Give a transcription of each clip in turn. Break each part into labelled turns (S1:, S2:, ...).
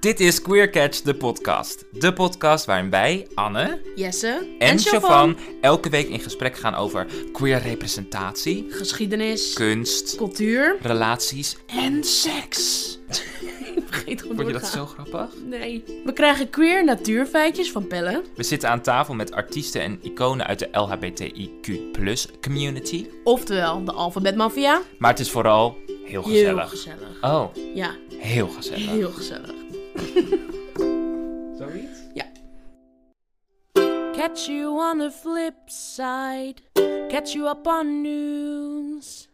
S1: Dit is Queer Catch, de podcast. De podcast waarin wij, Anne
S2: Jesse
S1: en
S2: Chauvin.
S1: Chauvin elke week in gesprek gaan over queer representatie,
S2: Geschiedenis,
S1: kunst,
S2: cultuur
S1: relaties en seks.
S2: Ik vergeet gewoon
S1: Vond je dat
S2: doorgaan.
S1: zo grappig?
S2: Nee. We krijgen queer natuurfeitjes van Pelle.
S1: We zitten aan tafel met artiesten en iconen uit de LHBTIQ community.
S2: Oftewel, de alfabetmafia.
S1: Maar het is vooral heel
S2: Heel
S1: gezellig.
S2: gezellig.
S1: Oh,
S2: Ja,
S1: heel gezellig.
S2: heel gezellig.
S1: Zoiets?
S2: Catch you on the flip side. Catch you up on news.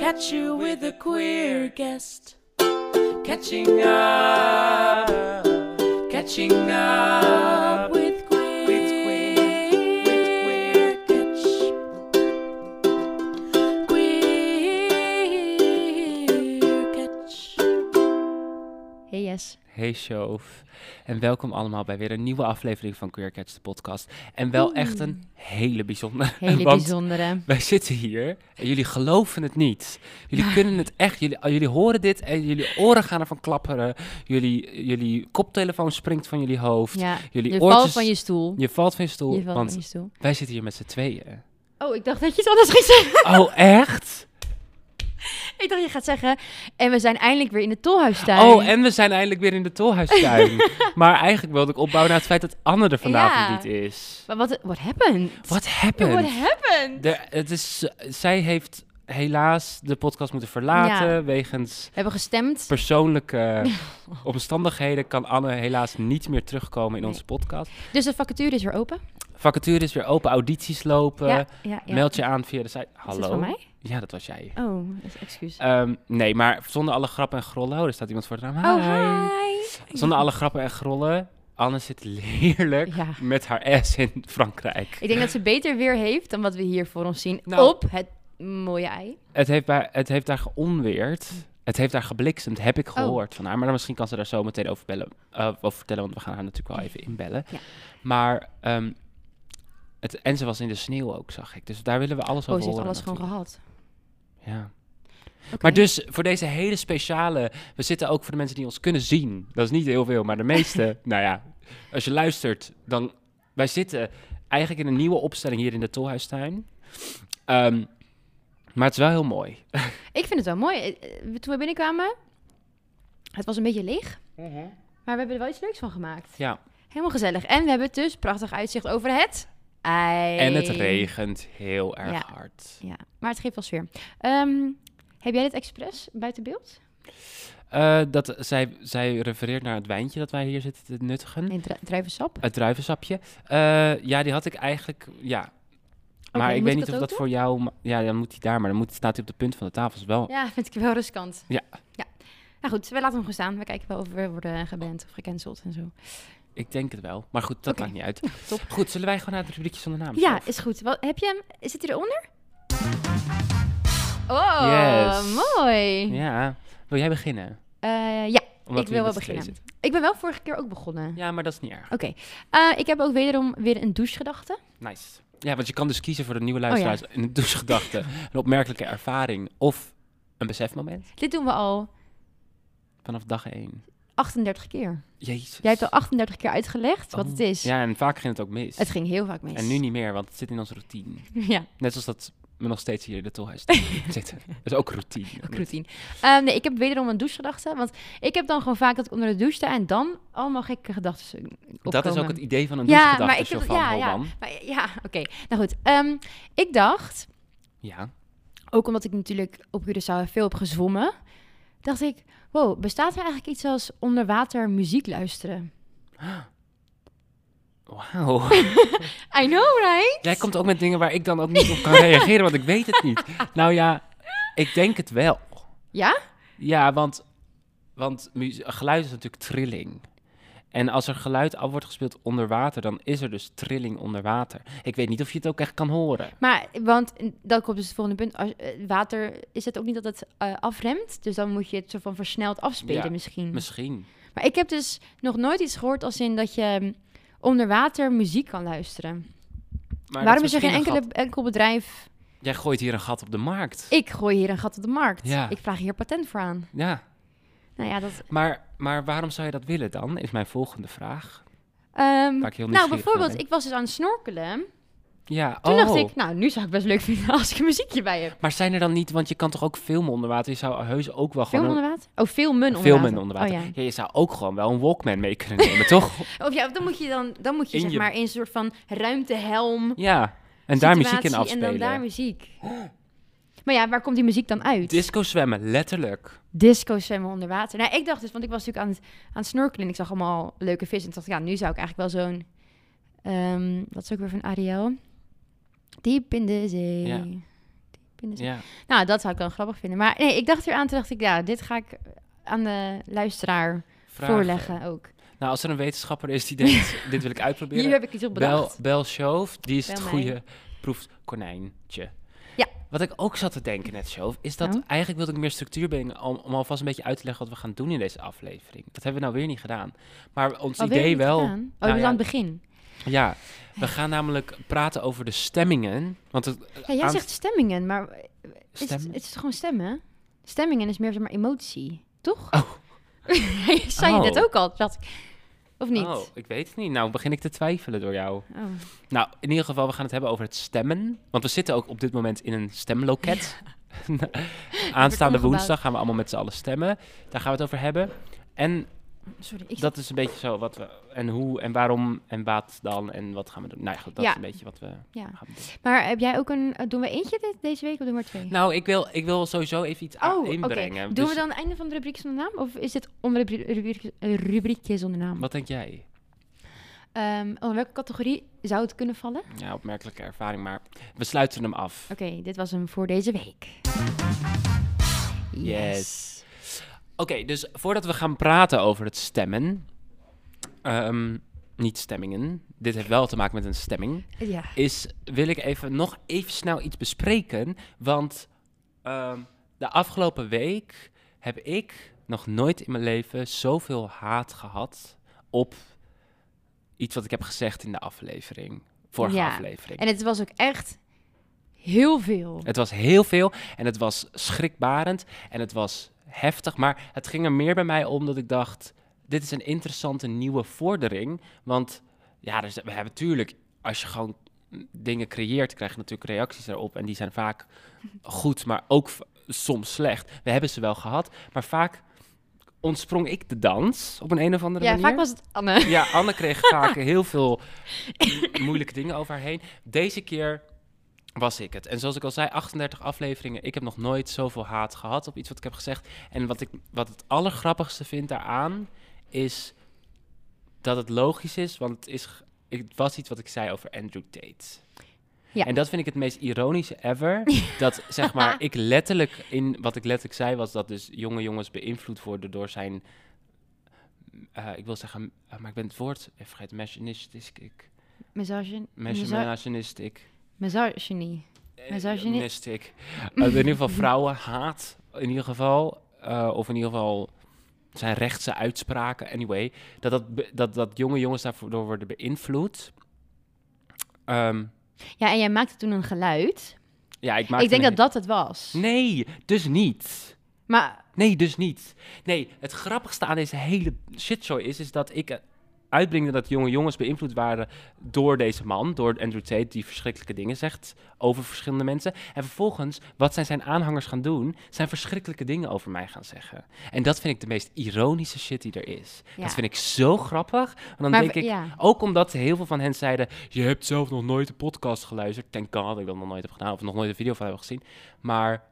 S2: Catch you with a queer guest.
S1: Catching up, catching up.
S2: With queer, catch. Queer catch. Hey yes.
S3: Hey Shove. En welkom allemaal bij weer een nieuwe aflevering van Queer Catch, de podcast. En wel echt een hele bijzondere.
S4: Hele
S3: want
S4: bijzondere.
S3: wij zitten hier en jullie geloven het niet. Jullie kunnen het echt, jullie, oh, jullie horen dit en jullie oren gaan ervan klapperen. Jullie, jullie koptelefoon springt van jullie hoofd.
S4: Ja,
S3: Jullie
S4: je
S3: oortjes-
S4: valt van je stoel.
S3: Je valt van je stoel,
S4: Je valt
S3: want
S4: van je stoel.
S3: wij zitten hier met z'n tweeën.
S4: Oh, ik dacht dat je iets anders ging zeggen.
S3: Oh, echt?
S4: Ik dacht je gaat zeggen, en we zijn eindelijk weer in de tolhuistuin.
S3: Oh, en we zijn eindelijk weer in de tolhuistuin. maar eigenlijk wilde ik opbouwen naar het feit dat Anne er vanavond
S4: Ja.
S3: niet is.
S4: Maar wat what happened?
S3: What
S4: What
S3: happened?
S4: happened?
S3: Er- het is, zij heeft helaas de podcast moeten verlaten.
S4: Ja.
S3: Wegens
S4: We hebben gestemd.
S3: persoonlijke omstandigheden kan Anne helaas niet meer terugkomen in
S4: Nee.
S3: onze podcast.
S4: Dus de vacature is weer open.
S3: Vacature is weer open, audities lopen.
S4: ja, ja, ja.
S3: Meld je aan via de site.
S4: Is
S3: Hallo.
S4: dat van mij?
S3: Ja, dat was jij.
S4: Oh, dat is excuus.
S3: Ehm, nee, maar zonder alle grappen en grollen. Oh, er staat iemand voor het raam.
S4: Oh,
S3: Hi.
S4: hi.
S3: Zonder alle grappen en grollen. Anne zit heerlijk
S4: Ja.
S3: met haar ass in Frankrijk.
S4: Ik denk dat ze beter weer heeft dan wat we hier voor ons zien
S3: Nou.
S4: op het mooie ei.
S3: Het heeft, bij, het heeft daar
S4: Hm.
S3: geonweerd. Het heeft daar gebliksemd, heb
S4: Oh.
S3: ik gehoord van haar. Maar dan misschien kan ze daar zo meteen over, bellen, eh, over vertellen, want we gaan haar natuurlijk wel even inbellen.
S4: Ja.
S3: Maar, ehm, het, en ze was in de sneeuw ook, zag ik. Dus daar willen we alles
S4: Oh,
S3: over
S4: ze heeft
S3: horen.
S4: alles gewoon
S3: natuurlijk.
S4: gehad.
S3: Ja.
S4: Oké.
S3: Maar dus voor deze hele speciale, we zitten ook voor de mensen die ons kunnen zien. Dat is niet heel veel, maar de meeste, nou ja, als je luistert, dan wij zitten eigenlijk in een nieuwe opstelling hier in de Tolhuistuin. Ehm, maar het is wel heel mooi.
S4: Ik vind het wel mooi. Eh, eh, Toen we binnenkwamen, het was een beetje leeg. Maar we hebben er wel iets leuks van gemaakt.
S3: Ja.
S4: Helemaal gezellig. En we hebben dus prachtig uitzicht over het ei.
S3: En het regent heel erg
S4: Ja.
S3: hard.
S4: Ja, maar het geeft wel sfeer. Ehm, heb jij dit expres buiten beeld?
S3: Eh, dat, zij, zij refereert naar het wijntje dat wij hier zitten te nuttigen.
S4: Nee, dru- druivensap.
S3: Het druivensapje. Eh, ja, die had ik eigenlijk, ja. Maar
S4: moet
S3: ik weet
S4: ik
S3: niet
S4: dat
S3: of
S4: ook
S3: dat
S4: doen?
S3: voor jou... ma- Ja, dan moet hij daar, maar dan moet, staat hij op de punt van de tafel. is wel...
S4: Ja, vind ik wel riskant.
S3: Ja.
S4: ja. Nou goed, we laten hem gewoon staan. We kijken wel of we worden geband of gecanceld en zo.
S3: Ik denk het wel. Maar goed, dat
S4: Oké.
S3: maakt niet uit.
S4: top.
S3: Goed, zullen wij gewoon naar het rubriekje zonder naam?
S4: Ja,
S3: Sof?
S4: is goed. Wel, heb je hem? Zit hij eronder? Oh,
S3: Yes.
S4: mooi.
S3: Ja. Wil jij beginnen?
S4: Eh, ja,
S3: Omdat
S4: ik
S3: we
S4: wil wel
S3: met z'n tweeën
S4: beginnen.
S3: zitten.
S4: Ik ben wel vorige keer ook begonnen.
S3: Ja, maar dat is niet erg.
S4: Oké. Eh, ik heb ook wederom weer een douchegedachte.
S3: Nice. Ja, want je kan dus kiezen voor de
S4: Oh
S3: nieuwe luisteraars. in Een douchegedachte, een opmerkelijke ervaring of een besefmoment
S4: Dit doen we al
S3: vanaf dag één.
S4: 38 keer.
S3: Jezus.
S4: Jij hebt al 38 keer uitgelegd wat
S3: Oh.
S4: het is.
S3: Ja, en vaak ging het ook mis.
S4: Het ging heel vaak mis.
S3: En nu niet meer, want het zit in onze routine.
S4: Ja,
S3: Net zoals dat we nog steeds hier in de tolhuis zitten. Dat is ook routine.
S4: ook routine. Ehm, nee, ik heb wederom een douchegedachte. Want ik heb dan gewoon vaak dat ik onder de douche sta en dan allemaal gekke gedachten opkomen.
S3: Dat is ook het idee van een
S4: Ja,
S3: douchegedachte,
S4: maar
S3: ja,
S4: ik heb...
S3: van
S4: Ja, ja,
S3: Holman.
S4: maar, ja oké. Nou goed. Ehm, ik dacht,
S3: Ja.
S4: ook omdat ik natuurlijk op Curaçao veel heb gezwommen, dacht ik, wow, bestaat er eigenlijk iets als onderwater muziek luisteren?
S3: Wauw.
S4: I know, right?
S3: Jij komt ook met dingen waar ik dan ook niet op kan reageren, want ik weet het niet. Nou ja, ik denk het wel.
S4: Ja?
S3: Ja, want, want mu- geluid is natuurlijk trilling. En als er geluid af wordt gespeeld onder water, dan is er dus trilling onder water. Ik weet niet of je het ook echt kan horen.
S4: Maar, want eh, dan komt dus het volgende punt. Als, eh, water, is het ook niet dat het eh, afremt? Dus dan moet je het zo van versneld afspelen
S3: Ja,
S4: misschien.
S3: Misschien.
S4: Maar ik heb dus nog nooit iets gehoord als in dat je mm, onder water muziek kan luisteren.
S3: Maar
S4: Waarom
S3: dat
S4: is er geen
S3: misschien een
S4: enkele, enkel bedrijf...
S3: gat- Jij gooit hier een gat op de markt.
S4: Ik gooi hier een gat op de markt.
S3: Ja.
S4: Ik vraag hier patent voor aan.
S3: Ja.
S4: Nou, Nou ja, dat...
S3: Maar, maar waarom zou je dat willen dan, is mijn volgende vraag.
S4: Ehm,
S3: Waar ik heel
S4: nou,
S3: nieuwsgierig naar
S4: bijvoorbeeld,
S3: ben.
S4: ik was dus aan het snorkelen.
S3: Ja,
S4: Toen
S3: oh.
S4: dacht ik, nou, nu zou ik best leuk vinden als ik een muziekje bij heb.
S3: Maar zijn er dan niet, want je kan toch ook filmen onder water? Je zou heus ook wel
S4: Film
S3: gewoon...
S4: onder water? Oh, filmen onder
S3: filmen
S4: water.
S3: onder water.
S4: Oh, ja.
S3: ja. je zou ook gewoon wel een Walkman mee kunnen nemen, toch?
S4: Of ja, dan moet je, dan, dan moet je
S3: In
S4: zeg
S3: je-
S4: maar in een soort van ruimtehelm...
S3: Ja, en daar muziek in
S4: situatie
S3: afspelen.
S4: En dan daar muziek. Maar ja, waar komt die muziek dan uit?
S3: Disco zwemmen, letterlijk.
S4: Disco zwemmen onder water. Nou, ik dacht dus, want ik was natuurlijk aan het, aan het snorkelen en ik zag allemaal leuke vissen. En toen dacht ik, ja, nu zou ik eigenlijk wel zo'n... ehm dat is ook weer van Ariel. Diep in de zee.
S3: Ja.
S4: Diep in de zee.
S3: Ja.
S4: Nou, dat zou ik wel grappig vinden. Maar nee, ik dacht eraan, toen dacht ik, ja, dit ga ik aan de luisteraar
S3: Vragen.
S4: voorleggen ook.
S3: Nou, als er een wetenschapper is die denkt, dit wil ik uitproberen.
S4: Hier heb ik iets op
S3: Bel,
S4: bedacht.
S3: Bel Shove, die is
S4: Bel
S3: het
S4: mij.
S3: goede proefkonijntje.
S4: Ja.
S3: Wat ik ook zat te denken net, Shove, is dat
S4: Nou?
S3: eigenlijk wilde ik meer structuur brengen om, om alvast een beetje uit te leggen wat we gaan doen in deze aflevering. Dat hebben we nou weer niet gedaan. Maar ons
S4: Alweer
S3: idee
S4: niet
S3: wel.
S4: gedaan? Oh,
S3: Nou
S4: je bent
S3: ja.
S4: aan het begin.
S3: Ja, we gaan namelijk praten over de stemmingen. Want het,
S4: Ja, jij
S3: aan-
S4: zegt stemmingen, maar Is
S3: stem-
S4: Het, het is gewoon stemmen. Stemmingen is meer zeg maar emotie, toch?
S3: Oh.
S4: je zei
S3: Oh.
S4: je net ook al, dacht ik. Of niet?
S3: Oh, ik weet het niet. Nou begin ik te twijfelen door jou.
S4: Oh.
S3: Nou, in ieder geval, we gaan het hebben over het stemmen. Want we zitten ook op dit moment in een stemloket. Aanstaande
S4: omgebouwd.
S3: woensdag gaan we allemaal met z'n allen stemmen. Daar gaan we het over hebben. En
S4: Sorry, ik
S3: dat is een beetje zo wat we... En hoe en waarom en wat dan en wat gaan we doen. Nou ja, goed, dat
S4: Ja.
S3: is een beetje wat we
S4: ja.
S3: gaan doen.
S4: Maar heb jij ook een... eh, Doen we eentje dit, deze week of doen we er twee?
S3: Nou, ik wil, ik wil sowieso even iets aan-
S4: oh, oké. Doen
S3: inbrengen.
S4: we
S3: Dus
S4: dan het einde van de rubriek zonder naam? Of is dit onder de rubrie- rubriek, eh, rubriekje zonder naam?
S3: Wat denk jij?
S4: Ehm, onder welke categorie zou het kunnen vallen? Oké,
S3: Ja, opmerkelijke ervaring, maar we sluiten hem af.
S4: dit was hem voor deze week.
S3: Yes. Oké, dus voordat we gaan praten over het stemmen. ehm, niet stemmingen. Dit heeft wel te maken met een stemming.
S4: Ja.
S3: Is wil ik even nog even snel iets bespreken. Want ehm, de afgelopen week heb ik nog nooit in mijn leven zoveel haat gehad op iets wat ik heb gezegd in de aflevering. Vorige
S4: Ja.
S3: aflevering.
S4: En het was ook echt heel veel.
S3: Het was heel veel en het was schrikbarend en het was heftig. Maar het ging er meer bij mij om dat ik dacht, dit is een interessante nieuwe vordering. Want ja, dus we hebben natuurlijk, als je gewoon mm, dingen creëert, krijg je natuurlijk reacties daarop. En die zijn vaak goed, maar ook v- soms slecht. We hebben ze wel gehad, maar vaak ontsprong ik de dans op een, een of andere
S4: Ja,
S3: manier.
S4: vaak was het Anne.
S3: Ja, Anne kreeg vaak heel veel m- moeilijke dingen over haar heen. Deze keer was ik het. En zoals ik al zei, 38 afleveringen. Ik heb nog nooit zoveel haat gehad op iets wat ik heb gezegd. En wat ik wat het allergrappigste vind daaraan is dat het logisch is, want het, is, g- het was iets wat ik zei over Andrew Tate.
S4: Ja.
S3: En dat vind ik het meest ironische ever. dat zeg maar, ik letterlijk in wat ik letterlijk zei was dat dus jonge jongens beïnvloed worden door zijn. eh, ik wil zeggen, eh, maar ik ben het woord even vergeten. Machinistiek.
S4: Misogyn... miso-
S3: Machinistiek.
S4: Misogyny. Misogyni-
S3: Misogynistiek. Eh, in ieder geval vrouwenhaat. In ieder geval. eh, of in ieder geval zijn rechtse uitspraken. Anyway. Dat, dat, be- dat, dat jonge jongens daardoor worden beïnvloed. Ehm,
S4: Ja, en jij maakte toen een geluid.
S3: ja, ik maak
S4: ik denk dat dat het was.
S3: Nee, dus niet.
S4: Maar
S3: Nee, dus niet. Nee, het grappigste aan deze hele shitshow is, is dat ik eh, uitbrengde dat jonge jongens beïnvloed waren door deze man, door Andrew Tate, die verschrikkelijke dingen zegt over verschillende mensen. En vervolgens, wat zijn zijn aanhangers gaan doen, zijn verschrikkelijke dingen over mij gaan zeggen. En dat vind ik de meest ironische shit die er is.
S4: Ja.
S3: Dat vind ik zo grappig. En dan
S4: Maar
S3: denk
S4: we-
S3: ik,
S4: ja.
S3: ook omdat heel veel van hen zeiden, je hebt zelf nog nooit een podcast geluisterd. Thank god dat ik dat nog nooit heb gedaan, of nog nooit een video van heb gezien. Maar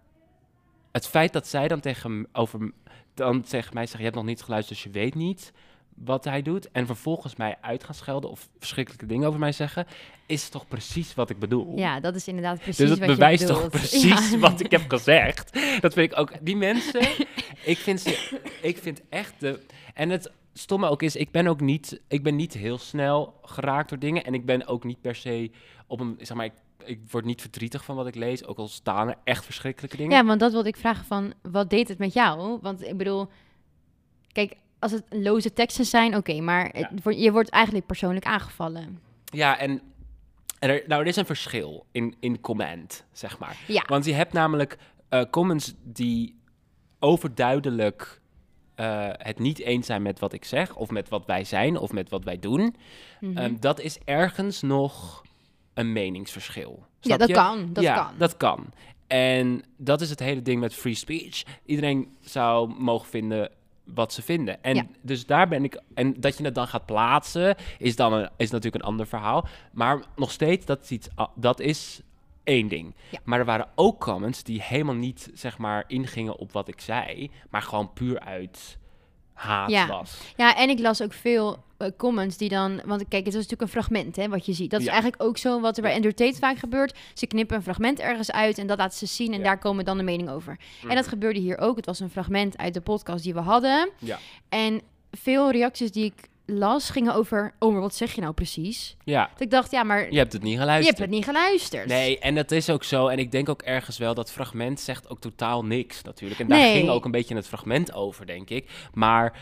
S3: het feit dat zij dan tegen, m- over, m- dan tegen mij zeggen, je hebt nog niet geluisterd, dus je weet niet wat hij doet. En vervolgens mij uit gaan schelden of verschrikkelijke dingen over mij zeggen, is toch precies wat ik bedoel.
S4: ja, dat is inderdaad precies
S3: dus
S4: wat
S3: het
S4: je
S3: bewijst toch
S4: bedoelt.
S3: precies
S4: Ja.
S3: wat ik heb gezegd. Dat vind ik ook. Die mensen, ik vind ze, ik vind echt de. En het stomme ook is, ik ben ook niet, ik ben niet heel snel geraakt door dingen en ik ben ook niet per se op een, zeg maar, ik, ik word niet verdrietig van wat ik lees, ook al staan er echt verschrikkelijke dingen.
S4: Ja, want dat wilde ik vragen van, wat deed het met jou? Want ik bedoel, kijk, als het loze teksten zijn, oké, maar het
S3: Ja.
S4: wordt- je wordt eigenlijk persoonlijk aangevallen.
S3: Ja, en, en er, nou, er is een verschil in, in comment, zeg maar.
S4: Ja.
S3: Want je hebt namelijk eh, comments die overduidelijk eh, eh, het niet eens zijn met wat ik zeg, of met wat wij zijn, of met wat wij doen,
S4: Mhm.
S3: ehm, dat is ergens nog een meningsverschil.
S4: ja,
S3: Snap
S4: dat
S3: je?
S4: kan. Dat
S3: ja,
S4: kan.
S3: dat kan. En dat is het hele ding met free speech. Iedereen zou mogen vinden wat ze vinden. En
S4: Ja.
S3: dus daar ben ik. En dat je het dan gaat plaatsen, is dan een, is natuurlijk een ander verhaal. Maar nog steeds, dat is, iets, a- dat is één ding.
S4: Ja.
S3: Maar er waren ook comments die helemaal niet, zeg maar, ingingen op wat ik zei, maar gewoon puur uit haat
S4: Ja.
S3: was.
S4: Ja, en ik las ook veel eh, comments die dan... Want kijk, het was natuurlijk een fragment, hè, wat je ziet. Dat
S3: Ja.
S4: is eigenlijk ook zo wat er bij Andrew Tate vaak gebeurt. Ze knippen een fragment ergens uit en dat laten ze zien. En
S3: Ja. Mhm.
S4: daar komen dan de mening over. En dat gebeurde hier ook. Het was een fragment uit de podcast die we hadden.
S3: Ja.
S4: En veel reacties die ik las gingen over... Oh, maar wat zeg je nou precies?
S3: Ja,
S4: Dat ik dacht, ja, maar
S3: je hebt het niet
S4: je
S3: geluisterd.
S4: hebt het niet geluisterd.
S3: Nee, en dat is ook zo. En ik denk ook ergens wel dat fragment zegt ook totaal niks natuurlijk. En daar
S4: Nee.
S3: ging ook een beetje het fragment over, denk ik. Maar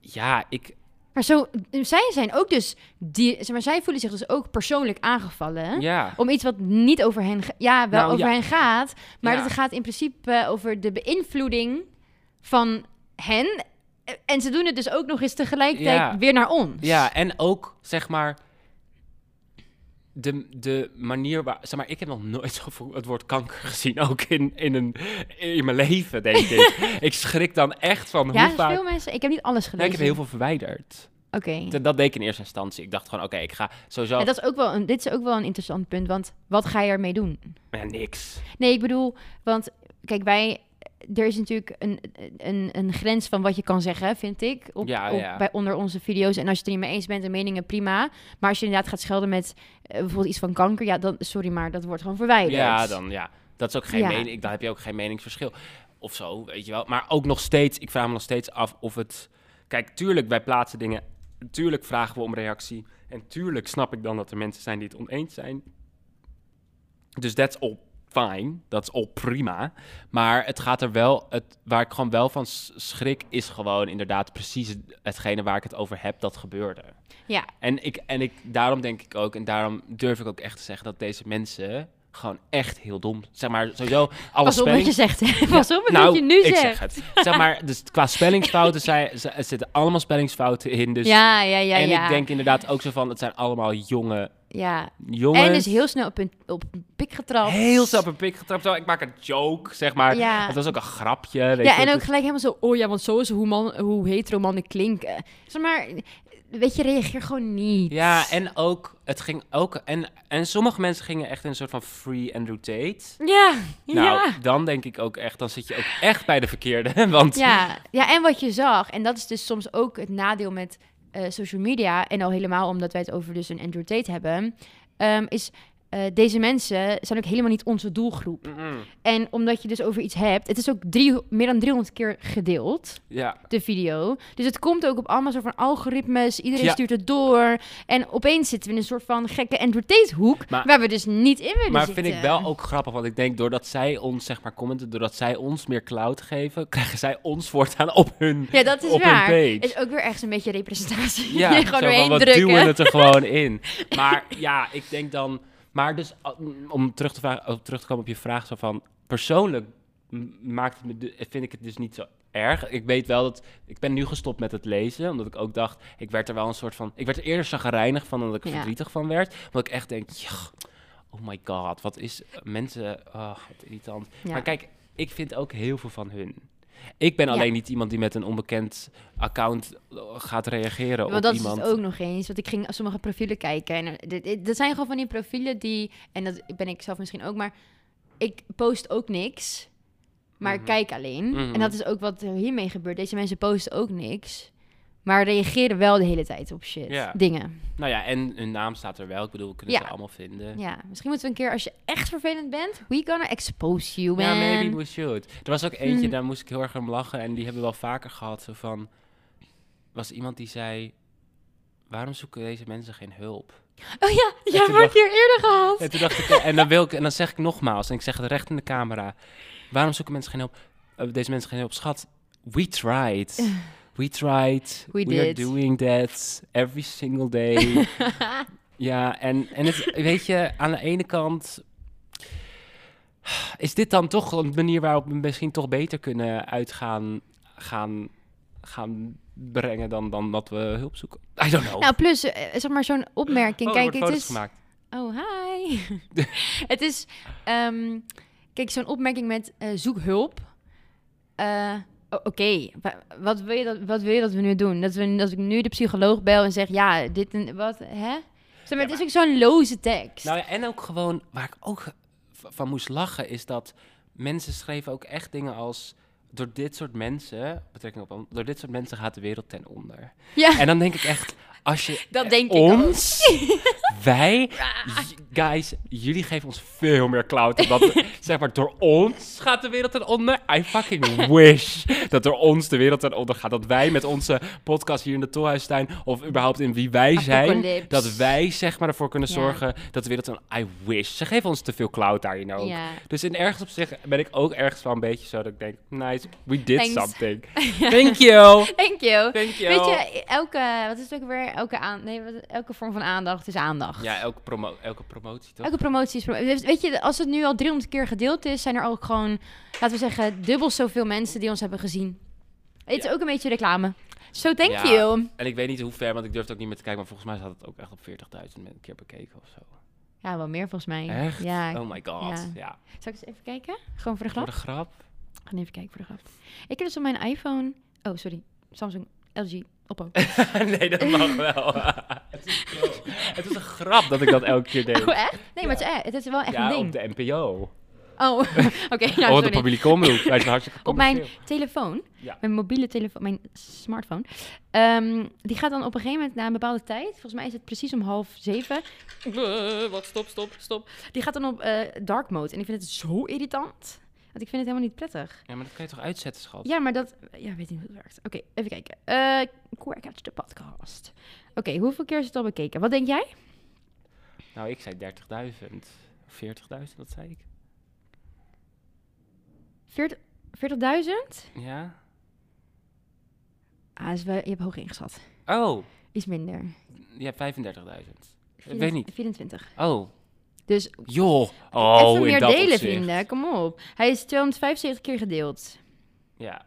S3: ja, ik.
S4: Maar zo, zij zijn ook dus... Die, zeg maar, zij voelen zich dus ook persoonlijk aangevallen.
S3: Ja.
S4: Om iets wat niet over hen, ga- ja, wel
S3: Nou,
S4: over
S3: ja.
S4: hen gaat. Maar
S3: Ja.
S4: het gaat in principe eh, over de beïnvloeding van hen. Eh, En ze doen het dus ook nog eens tegelijkertijd
S3: Ja.
S4: weer naar ons.
S3: Ja, en ook zeg maar. De, de manier waar. Zeg maar, ik heb nog nooit zo voor het woord kanker gezien. Ook in, in, een, in mijn leven, denk ik. ik schrik dan echt van
S4: Ja,
S3: hoe vaak.
S4: veel mensen. Ik heb niet alles
S3: Nee,
S4: gelezen.
S3: ik heb heel veel verwijderd.
S4: Oké.
S3: Dat- Dat deed ik in eerste instantie. Ik dacht gewoon, oké, ik ga sowieso.
S4: En dat is ook wel een, dit is ook wel een interessant punt, want wat ga je ermee doen?
S3: Ja, niks.
S4: Nee, ik bedoel, want kijk, wij, er is natuurlijk een, een, een grens van wat je kan zeggen, vind ik, op,
S3: Ja,
S4: op-
S3: ja.
S4: Bij, onder onze video's. En als je het er niet mee eens bent en meningen, prima. Maar als je inderdaad gaat schelden met eh, bijvoorbeeld iets van kanker, ja, dan, sorry, maar dat wordt gewoon verwijderd.
S3: Ja, dan ja. Dat is ook geen
S4: Ja.
S3: mening. Dan heb je ook geen meningsverschil. Of zo, weet je wel. Maar ook nog steeds, ik vraag me nog steeds af of het. Kijk, tuurlijk, wij plaatsen dingen. Tuurlijk vragen we om reactie. En tuurlijk snap ik dan dat er mensen zijn die het oneens zijn. Dus that's all fine. That's all prima. Maar het gaat er wel. Het, waar ik gewoon wel van s- schrik, is gewoon inderdaad precies hetgene waar ik het over heb dat gebeurde.
S4: Ja,
S3: En, ik, en ik, daarom denk ik ook, en daarom durf ik ook echt te zeggen dat deze mensen gewoon echt heel dom Zeg maar, sowieso alle
S4: pas op wat je
S3: spelling...
S4: zegt. hè. Pas op wat
S3: nou,
S4: je nu
S3: ik
S4: zegt.
S3: zeg het. Zeg maar, dus qua spellingsfouten zijn, ze- er zitten allemaal spellingsfouten in. Dus,
S4: ja, ja, ja,
S3: en
S4: ja.
S3: ik denk inderdaad ook zo van, het zijn allemaal jonge
S4: ja.
S3: jongens.
S4: En dus heel snel op een op een pik getrapt.
S3: heel snel op een pik getrapt. Terwijl Ik maak een joke, zeg maar.
S4: Ja.
S3: Het was ook een grapje. Weet
S4: Ja, en
S3: je, het
S4: ook
S3: is-
S4: gelijk helemaal zo, oh ja, want zo is hoe, man, hoe hetero mannen klinken. Zeg maar, weet je, reageer gewoon niet.
S3: Ja, en ook, het ging ook... En, en sommige mensen gingen echt in een soort van free Andrew Tate.
S4: Ja,
S3: Nou,
S4: ja.
S3: dan denk ik ook echt, dan zit je ook echt bij de verkeerde. Want ja,
S4: ja. Ja, en wat je zag, en dat is dus soms ook het nadeel met eh, social media, en al helemaal omdat wij het over dus een Andrew Tate hebben, ehm, is eh, deze mensen zijn ook helemaal niet onze doelgroep. En omdat je dus over iets hebt, het is ook drie, meer dan 300 keer gedeeld,
S3: ja,
S4: de video. Dus het komt ook op allemaal soort van algoritmes, iedereen
S3: Ja.
S4: stuurt het door. En opeens zitten we in een soort van gekke Andrew Tate hoek,
S3: Maar-
S4: waar we dus niet in willen
S3: maar
S4: zitten.
S3: vind ik wel ook grappig, want ik denk doordat zij ons zeg maar commenten, doordat zij ons meer cloud geven, krijgen zij ons voortaan op hun
S4: Ja, dat is
S3: op hun
S4: waar.
S3: page.
S4: Is ook weer echt een beetje representatie.
S3: ja,
S4: Ja,
S3: zo
S4: gewoon
S3: van,
S4: doorheen
S3: wat
S4: drukken.
S3: duwen het er gewoon in. Maar ja, ik denk dan, maar dus al- om terug te, vragen, om terug te komen op je vraag zo van persoonlijk m- maakt het me, de- vind ik het dus niet zo erg. Ik weet wel dat ik ben nu gestopt met het lezen, omdat ik ook dacht, ik werd er wel een soort van, ik werd er eerder chagrijnig van dan dat ik er
S4: Ja.
S3: verdrietig van werd, omdat ik echt denk, ja, oh my god, wat is mensen, oh, wat irritant.
S4: Ja.
S3: Maar kijk, ik vind ook heel veel van hun. Ik ben
S4: Ja.
S3: alleen niet iemand die met een onbekend account eh, gaat reageren
S4: Want
S3: op
S4: dat
S3: iemand.
S4: is het ook nog eens. Want ik ging sommige profielen kijken. En er- dit- dit- dat zijn gewoon van die profielen die... En dat ben ik zelf misschien ook, maar... Ik post ook niks, maar ik kijk alleen.
S3: Mhm.
S4: En dat is ook wat er hiermee gebeurt. Deze mensen posten ook niks, maar reageren wel de hele tijd op shit.
S3: Ja.
S4: Dingen.
S3: Nou ja, en hun naam staat er wel. Ik bedoel, we kunnen
S4: Ja.
S3: ze allemaal vinden.
S4: Ja, misschien moeten we een keer, als je echt vervelend bent... We gonna expose you, man.
S3: Ja, maybe we should. Er was ook
S4: Hmm.
S3: eentje, daar moest ik heel erg om lachen. En die hebben we wel vaker gehad. Zo van, was iemand die zei... Waarom zoeken deze mensen geen hulp?
S4: Oh ja, jij
S3: toen
S4: hebt een
S3: dacht-
S4: keer eerder gehad.
S3: En toen dacht ik, eh, en dan, wil ik, en dan zeg ik nogmaals, en ik zeg het recht in de camera. Waarom zoeken mensen geen hulp? eh, deze mensen geen hulp, schat. We tried. We tried.
S4: We
S3: are
S4: did.
S3: doing that every single day. ja, en, en het, weet je, aan de ene kant. Is dit dan toch een manier waarop we misschien toch beter kunnen uitgaan gaan gaan brengen dan, dan dat we hulp zoeken. I don't know.
S4: Nou, plus, eh, zeg maar zo'n opmerking.
S3: Oh, er
S4: Kijk,
S3: wordt
S4: het
S3: foto's
S4: is...
S3: gemaakt.
S4: Oh, hi. het is... ehm, kijk, zo'n opmerking met eh, zoek hulp. Eh, o- Oké, wa- wat, wil je dat- wat wil je dat we nu doen? Dat, we, dat ik nu de psycholoog bel en zeg, ja, dit en wat, hè? Zeg maar, het is ook zo'n loze tekst.
S3: Nou ja, en ook gewoon, waar ik ook v- van moest lachen, is dat mensen schreven ook echt dingen als... Door dit soort mensen, betrekking op, an- door dit soort mensen gaat de wereld ten onder.
S4: ja,
S3: En dan denk ik echt, als je
S4: dat denk ik ook.
S3: ons, wij, j- guys, jullie geven ons veel meer clout. dan dat we- zeg maar, door ons gaat de wereld ten onder. I fucking wish dat door ons de wereld ten onder gaat. Dat wij met onze podcast hier in de Tolhuistuin, of überhaupt in wie wij zijn,
S4: Apocalypse.
S3: dat wij zeg maar ervoor kunnen
S4: Ja.
S3: zorgen dat de wereld ten I wish. Ze geven ons te veel clout daarin ook.
S4: Ja.
S3: Dus in ergens op zich ben ik ook ergens wel een beetje zo dat ik denk, nice, we did
S4: Thanks.
S3: something. Thank you.
S4: Thank you.
S3: Thank you.
S4: Weet je, elke, wat is het ook weer? Elke, aan, nee, wat- elke vorm van aandacht is aandacht.
S3: Ja, elke, promo elke promotie toch?
S4: Elke promotie is... promo- Dus Weet je, als het nu al 300 keer gedeeld is, zijn er ook gewoon, laten we zeggen, dubbel zoveel mensen die ons hebben gezien. Het is ook een beetje reclame. So thank
S3: Ja.
S4: you.
S3: En ik weet niet hoe ver, want ik durf het ook niet meer te kijken. Maar volgens mij staat het ook echt op 40.000 men- keer bekeken of zo.
S4: Ja, wel meer volgens mij.
S3: Echt?
S4: Ja.
S3: Oh my god.
S4: Ja.
S3: Ja.
S4: Zal ik eens even kijken? Gewoon voor de
S3: Voor
S4: grap?
S3: de grap.
S4: Gewoon even kijken voor de grap. Ik heb dus op mijn iPhone... Oh, sorry. Samsung, LG, Oppo.
S3: nee, dat mag wel. het, is zo- het is een grap dat ik dat elke keer deed.
S4: Oh, echt? Nee, maar het is, eh, het is wel echt
S3: ja,
S4: een
S3: op
S4: ding.
S3: de NPO.
S4: Oh, oké. nou,
S3: oh, de
S4: sorry.
S3: publieke omroep. Wij zijn hartstikke
S4: op mijn
S3: commercieel.
S4: telefoon,
S3: Ja.
S4: mijn mobiele telefoon, mijn smartphone, ehm, die gaat dan op een gegeven moment na een bepaalde tijd, volgens mij is het precies om half zeven. Eh, Wat, stop, stop, stop. Die gaat dan op eh, dark mode en ik vind het zo irritant, want ik vind het helemaal niet prettig.
S3: Ja, maar dat kan je toch uitzetten, schat?
S4: Ja, maar dat, ja, weet niet hoe het werkt. Oké, even kijken. Eh Quackatch de podcast. Oké, hoeveel keer is het al bekeken? Wat denk jij?
S3: Nou, ik zei 30.000. 40.000, dat zei ik.
S4: 40 40.000?
S3: Ja.
S4: Ah, is wel, je hebt hoog ingeschat.
S3: Oh,
S4: Iets minder.
S3: ja, 35.000. Ik weet niet.
S4: 24.
S3: Oh,
S4: Dus
S3: joh. Oh,
S4: Even
S3: in
S4: meer
S3: dat
S4: delen,
S3: opzicht.
S4: vrienden. Kom op. Hij is 275 keer gedeeld.
S3: Ja.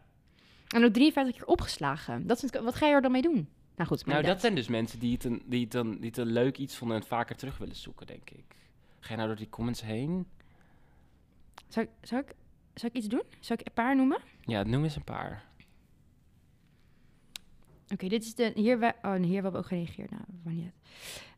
S4: En ook 53 keer opgeslagen. Dat is het- wat ga je er dan mee doen? Nou goed, maar
S3: Nou, dat zijn dus mensen die het, een, die, het een, die het een leuk iets vonden en het vaker terug willen zoeken, denk ik. Ga je nou door die comments heen?
S4: Zou, ik- zou, ik, zou ik iets doen? Zou ik een paar noemen?
S3: Ja, noem eens een paar.
S4: Oké, dit is de... Hier, we, oh, en hier hebben we ook gereageerd. Nou, maar niet uit.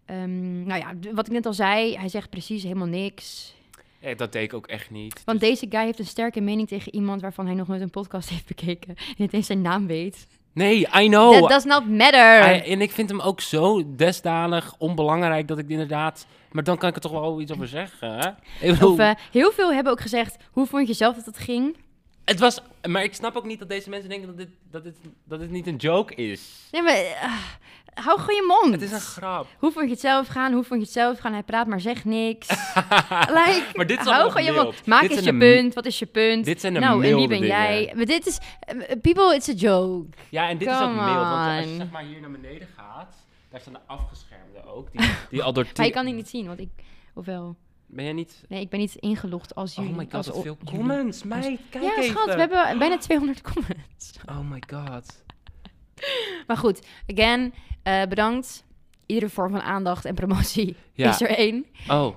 S4: Ehm, nou ja, d- wat ik net al zei. Hij zegt precies helemaal niks.
S3: Ja, dat deed ik ook echt niet. Dus-
S4: Want deze guy heeft een sterke mening tegen iemand... waarvan hij nog nooit een podcast heeft bekeken. En niet eens zijn naam weet.
S3: Nee, I know.
S4: That does not matter.
S3: I- en ik vind hem ook zo desdanig onbelangrijk dat ik inderdaad... Maar dan kan ik er toch wel iets over zeggen, hè? Ik bedoel,
S4: Of eh, heel veel hebben ook gezegd... Hoe vond je zelf dat het ging?
S3: het was... Maar ik snap ook niet dat deze mensen denken dat dit, dat dit, dat dit niet een joke is.
S4: Nee, maar eh, hou gewoon je mond.
S3: Het is een grap.
S4: Hoe vond je het zelf gaan? Hoe vond je het zelf gaan? Hij praat maar zegt niks. like,
S3: Maar dit is allemaal
S4: hou gewoon je mond.
S3: mild.
S4: Maak
S3: Dit
S4: eens je
S3: zijn de-
S4: punt. Wat is je punt?
S3: dit zijn de
S4: Nou, en wie
S3: milde
S4: ben
S3: dingen.
S4: jij? Maar dit is... eh, people, it's a joke.
S3: Ja, en dit is ook
S4: Come
S3: mild. Want als je
S4: on.
S3: zeg maar hier naar beneden gaat... Daar staan de afgeschermden ook. Die, die al door...
S4: Maar je
S3: tien-
S4: kan die niet zien, want ik... Ofwel...
S3: Ben jij niet...
S4: Nee, ik ben niet ingelogd als jullie.
S3: Oh my god,
S4: als
S3: wat
S4: o-
S3: veel
S4: jullie.
S3: comments, meid. Kijk
S4: Ja,
S3: even.
S4: schat, we hebben bijna 200 comments.
S3: Oh my god.
S4: Maar goed, again, eh, bedankt. Iedere vorm van aandacht en promotie
S3: Ja.
S4: is er één.
S3: Oh.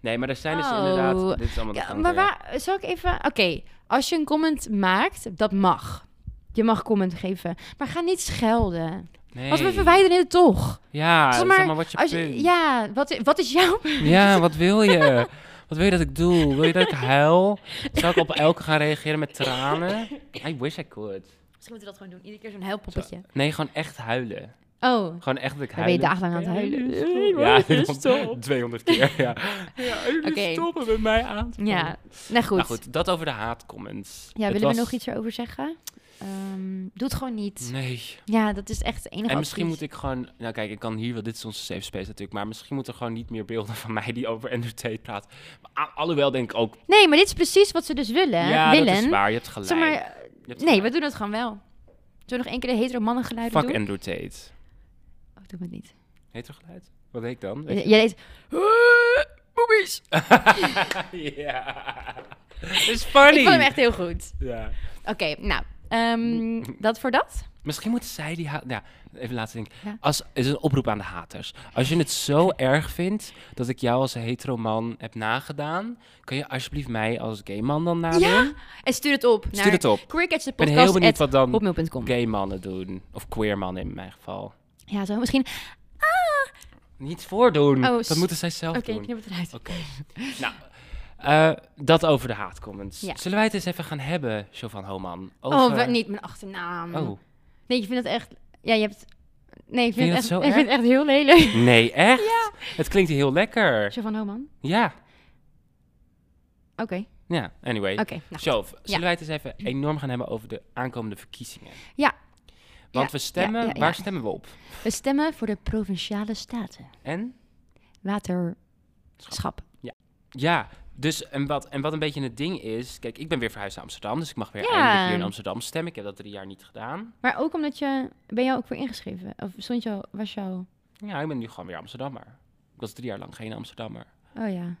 S3: Nee, maar er zijn dus
S4: Oh.
S3: inderdaad... Dit is allemaal de
S4: Ja,
S3: gang
S4: maar
S3: weer.
S4: waar, zal ik even... Oké, als je een comment maakt, dat mag. Je mag comment geven. Maar ga niet schelden.
S3: Nee.
S4: Want we verwijderen het toch.
S3: Ja,
S4: Zeg
S3: zeg
S4: maar,
S3: maar, wat je
S4: Als
S3: punt.
S4: je, ja, wat, i- wat is jouw...
S3: Ja, wat wil je? Wat wil je dat ik doe? Wil je dat ik huil? Zou ik op elke gaan reageren met tranen? I wish I could.
S4: Misschien moeten we dat gewoon doen. Iedere keer zo'n helpoppetje.
S3: Nee, gewoon echt huilen.
S4: Oh,
S3: Gewoon echt dat ik
S4: dan ben je
S3: huilen.
S4: dagenlang aan het huilen.
S3: Ja, 200 keer, ja.
S4: Oké.
S3: stoppen met mij aan
S4: Ja, nou goed.
S3: Nou goed, dat over de haatcomments.
S4: Ja,
S3: Het
S4: willen
S3: was-
S4: we nog iets erover zeggen? Ehm, doe het gewoon niet.
S3: Nee.
S4: Ja, dat is echt het enige
S3: En misschien
S4: advies.
S3: moet ik gewoon... Nou kijk, ik kan hier wel... Dit is onze safe space natuurlijk. Maar misschien moeten er gewoon niet meer beelden van mij die over entertainment praten. Maar a- alhoewel denk ik ook...
S4: Nee, maar dit is precies wat ze dus willen.
S3: Ja,
S4: willen.
S3: dat is waar. Je hebt gelijk.
S4: Zeg maar,
S3: Je hebt
S4: nee, we
S3: gelijk.
S4: doen het gewoon wel. Zullen we nog één keer de hetero mannen geluiden
S3: Fuck
S4: doen?
S3: Andrew Tate.
S4: Oh, doe het niet.
S3: Hetergeluid? Wat deed ik dan?
S4: J- Jij deed...
S3: Eh,
S4: Boobies!
S3: ja. Is
S4: Ik
S3: funny.
S4: vond hem echt heel goed.
S3: Ja.
S4: Oké, nou. eh, Ehm, dat voor dat?
S3: Misschien moeten zij die haat. Ja, even laten denken.
S4: Ja.
S3: Als is een oproep aan de haters. Als je het zo erg vindt dat ik jou als hetero man heb nagedaan, kan je alsjeblieft mij als gay man dan nadoen?
S4: Ja. En stuur het op naar
S3: Stuur het op.
S4: queercatchthepodcast@hotmail.com.
S3: Ik ben heel benieuwd wat dan
S4: hotmail.com.
S3: gay mannen doen. Of queer mannen in mijn geval.
S4: Ja, zo misschien.
S3: Niet voordoen.
S4: Oh,
S3: dat
S4: s-
S3: moeten zij zelf
S4: Oké,
S3: doen.
S4: knip het eruit.
S3: Oké. nou, eh, dat over de haatcomments.
S4: Ja.
S3: Zullen wij het eens even gaan hebben, Jovan Homan? Over...
S4: Oh, wa- niet mijn achternaam.
S3: Oh,
S4: Nee, je vindt dat echt... Ja, je hebt... Nee, ik vind,
S3: je
S4: het
S3: dat
S4: echt,
S3: zo
S4: ik vind het echt heel lelijk.
S3: nee, echt? Het klinkt heel lekker.
S4: Zo van, oh man.
S3: Ja,
S4: Oké,
S3: ja. Anyway.
S4: oké. nou.
S3: Sjoof, zullen
S4: Ja.
S3: wij het eens even enorm gaan hebben over de aankomende verkiezingen?
S4: Ja.
S3: Want
S4: Ja,
S3: we stemmen,
S4: ja, ja, ja.
S3: waar stemmen we op?
S4: We stemmen voor de Provinciale Staten.
S3: En?
S4: Waterschap.
S3: Ja, dus en wat, en wat een beetje het ding is... Kijk, ik ben weer verhuisd naar Amsterdam, dus ik mag weer
S4: Ja.
S3: eindelijk hier in Amsterdam stemmen. Ik heb dat drie jaar niet gedaan.
S4: Maar ook omdat je... Ben jij ook voor ingeschreven? Of stond jou, was jou...
S3: Ja, ik ben nu gewoon weer Amsterdammer. Ik was drie jaar lang geen Amsterdammer.
S4: Oh ja.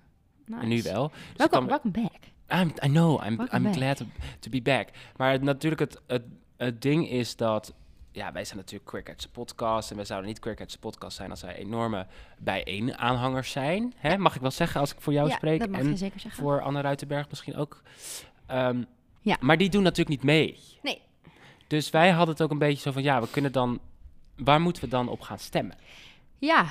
S4: Nice.
S3: En nu wel. Dus ik
S4: Welkom,
S3: kan-
S4: welcome back.
S3: I'm, I know, I'm,
S4: Welcome
S3: I'm
S4: back.
S3: glad to, to be back. Maar het- natuurlijk, het, het, het ding is dat... Ja, wij zijn natuurlijk Queer Catch the Podcast. En wij zouden niet Queer Catch the Podcast zijn als wij enorme bijeen aanhangers zijn. Hè? Mag ik wel zeggen als ik voor jou
S4: ja,
S3: spreek?
S4: dat mag
S3: en
S4: je zeker zeggen.
S3: voor Anne Ruitenberg misschien ook. Ehm,
S4: Ja.
S3: Maar die doen natuurlijk niet mee.
S4: Nee.
S3: Dus wij hadden het ook een beetje zo van... Ja, we kunnen dan... Waar moeten we dan op gaan stemmen?
S4: Ja,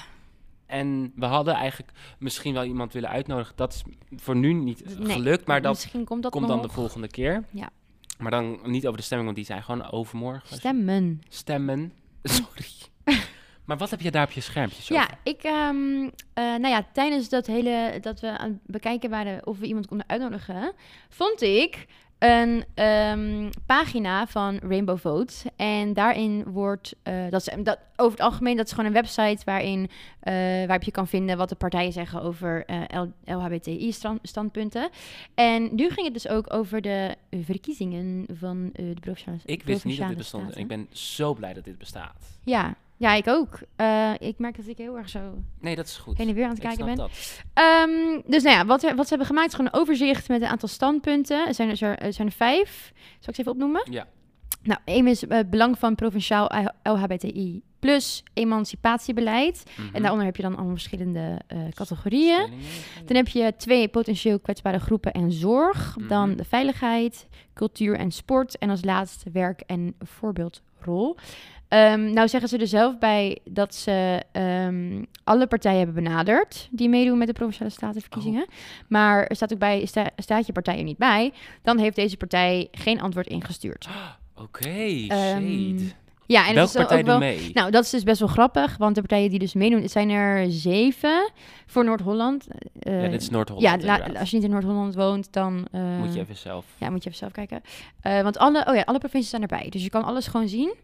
S3: En we hadden eigenlijk misschien wel iemand willen uitnodigen. Dat is voor nu niet
S4: Nee,
S3: gelukt, maar dat
S4: misschien komt dat
S3: komt
S4: nog.
S3: dan de volgende keer.
S4: Ja.
S3: Maar dan niet over de stemming, want die zijn gewoon overmorgen.
S4: Stemmen.
S3: Stemmen. Sorry. maar wat heb je daar op je schermpje? Sophie?
S4: Ja, ik, ehm, eh, nou ja, tijdens dat hele, dat we aan het bekijken waren of we iemand konden uitnodigen, vond ik een ehm, pagina van Rainbow Vote. En daarin wordt, eh, dat, is, dat over het algemeen, dat is gewoon een website waarin, eh, waarop je kan vinden wat de partijen zeggen over eh, LHBTI-standpunten. En nu ging het dus ook over de verkiezingen van eh, de provinciale
S3: Ik wist niet dat
S4: provinciale
S3: dit bestond en
S4: staten.
S3: ik ben zo blij dat dit bestaat.
S4: Ja, ja, ik ook. Eh, ik merk dat ik heel erg zo
S3: Nee, dat is goed.
S4: heen en weer aan het
S3: ik
S4: kijken
S3: snap
S4: ben.
S3: dat.
S4: Ehm, dus nou ja, wat, wat ze hebben gemaakt is gewoon een overzicht met een aantal standpunten. Er zijn er, er zijn er vijf. Zal ik ze even opnoemen?
S3: Ja.
S4: Nou, één is eh, belang van provinciaal LHBTI plus emancipatiebeleid.
S3: Mhm.
S4: En daaronder heb je dan allemaal verschillende eh, categorieën.
S3: Stellingen.
S4: Dan heb je twee potentieel kwetsbare groepen en zorg. Dan
S3: Mm. Mhm.
S4: de veiligheid, cultuur en sport. En als laatste werk en voorbeeldrol. Ehm, nou zeggen ze er zelf bij dat ze ehm, alle partijen hebben benaderd die meedoen met de Provinciale Statenverkiezingen.
S3: Oh.
S4: Maar er staat ook bij, sta- staat je partij er niet bij, dan heeft deze partij geen antwoord ingestuurd.
S3: Oké,
S4: Ehm,
S3: shade.
S4: Ja, en dat
S3: Welke
S4: is dan
S3: partij
S4: ook wel...
S3: doet mee?
S4: Nou, dat is dus best wel grappig, want de partijen die dus meedoen, het zijn er zeven voor Noord-Holland. Eh,
S3: ja, dit is
S4: ja,
S3: Noord-Holland
S4: la-
S3: inderdaad.
S4: als je niet in Noord-Holland woont, dan... eh,
S3: Moet je even zelf...
S4: Ja, moet je even zelf kijken. Eh, want alle, oh ja, alle provincies zijn erbij, dus je kan alles gewoon zien.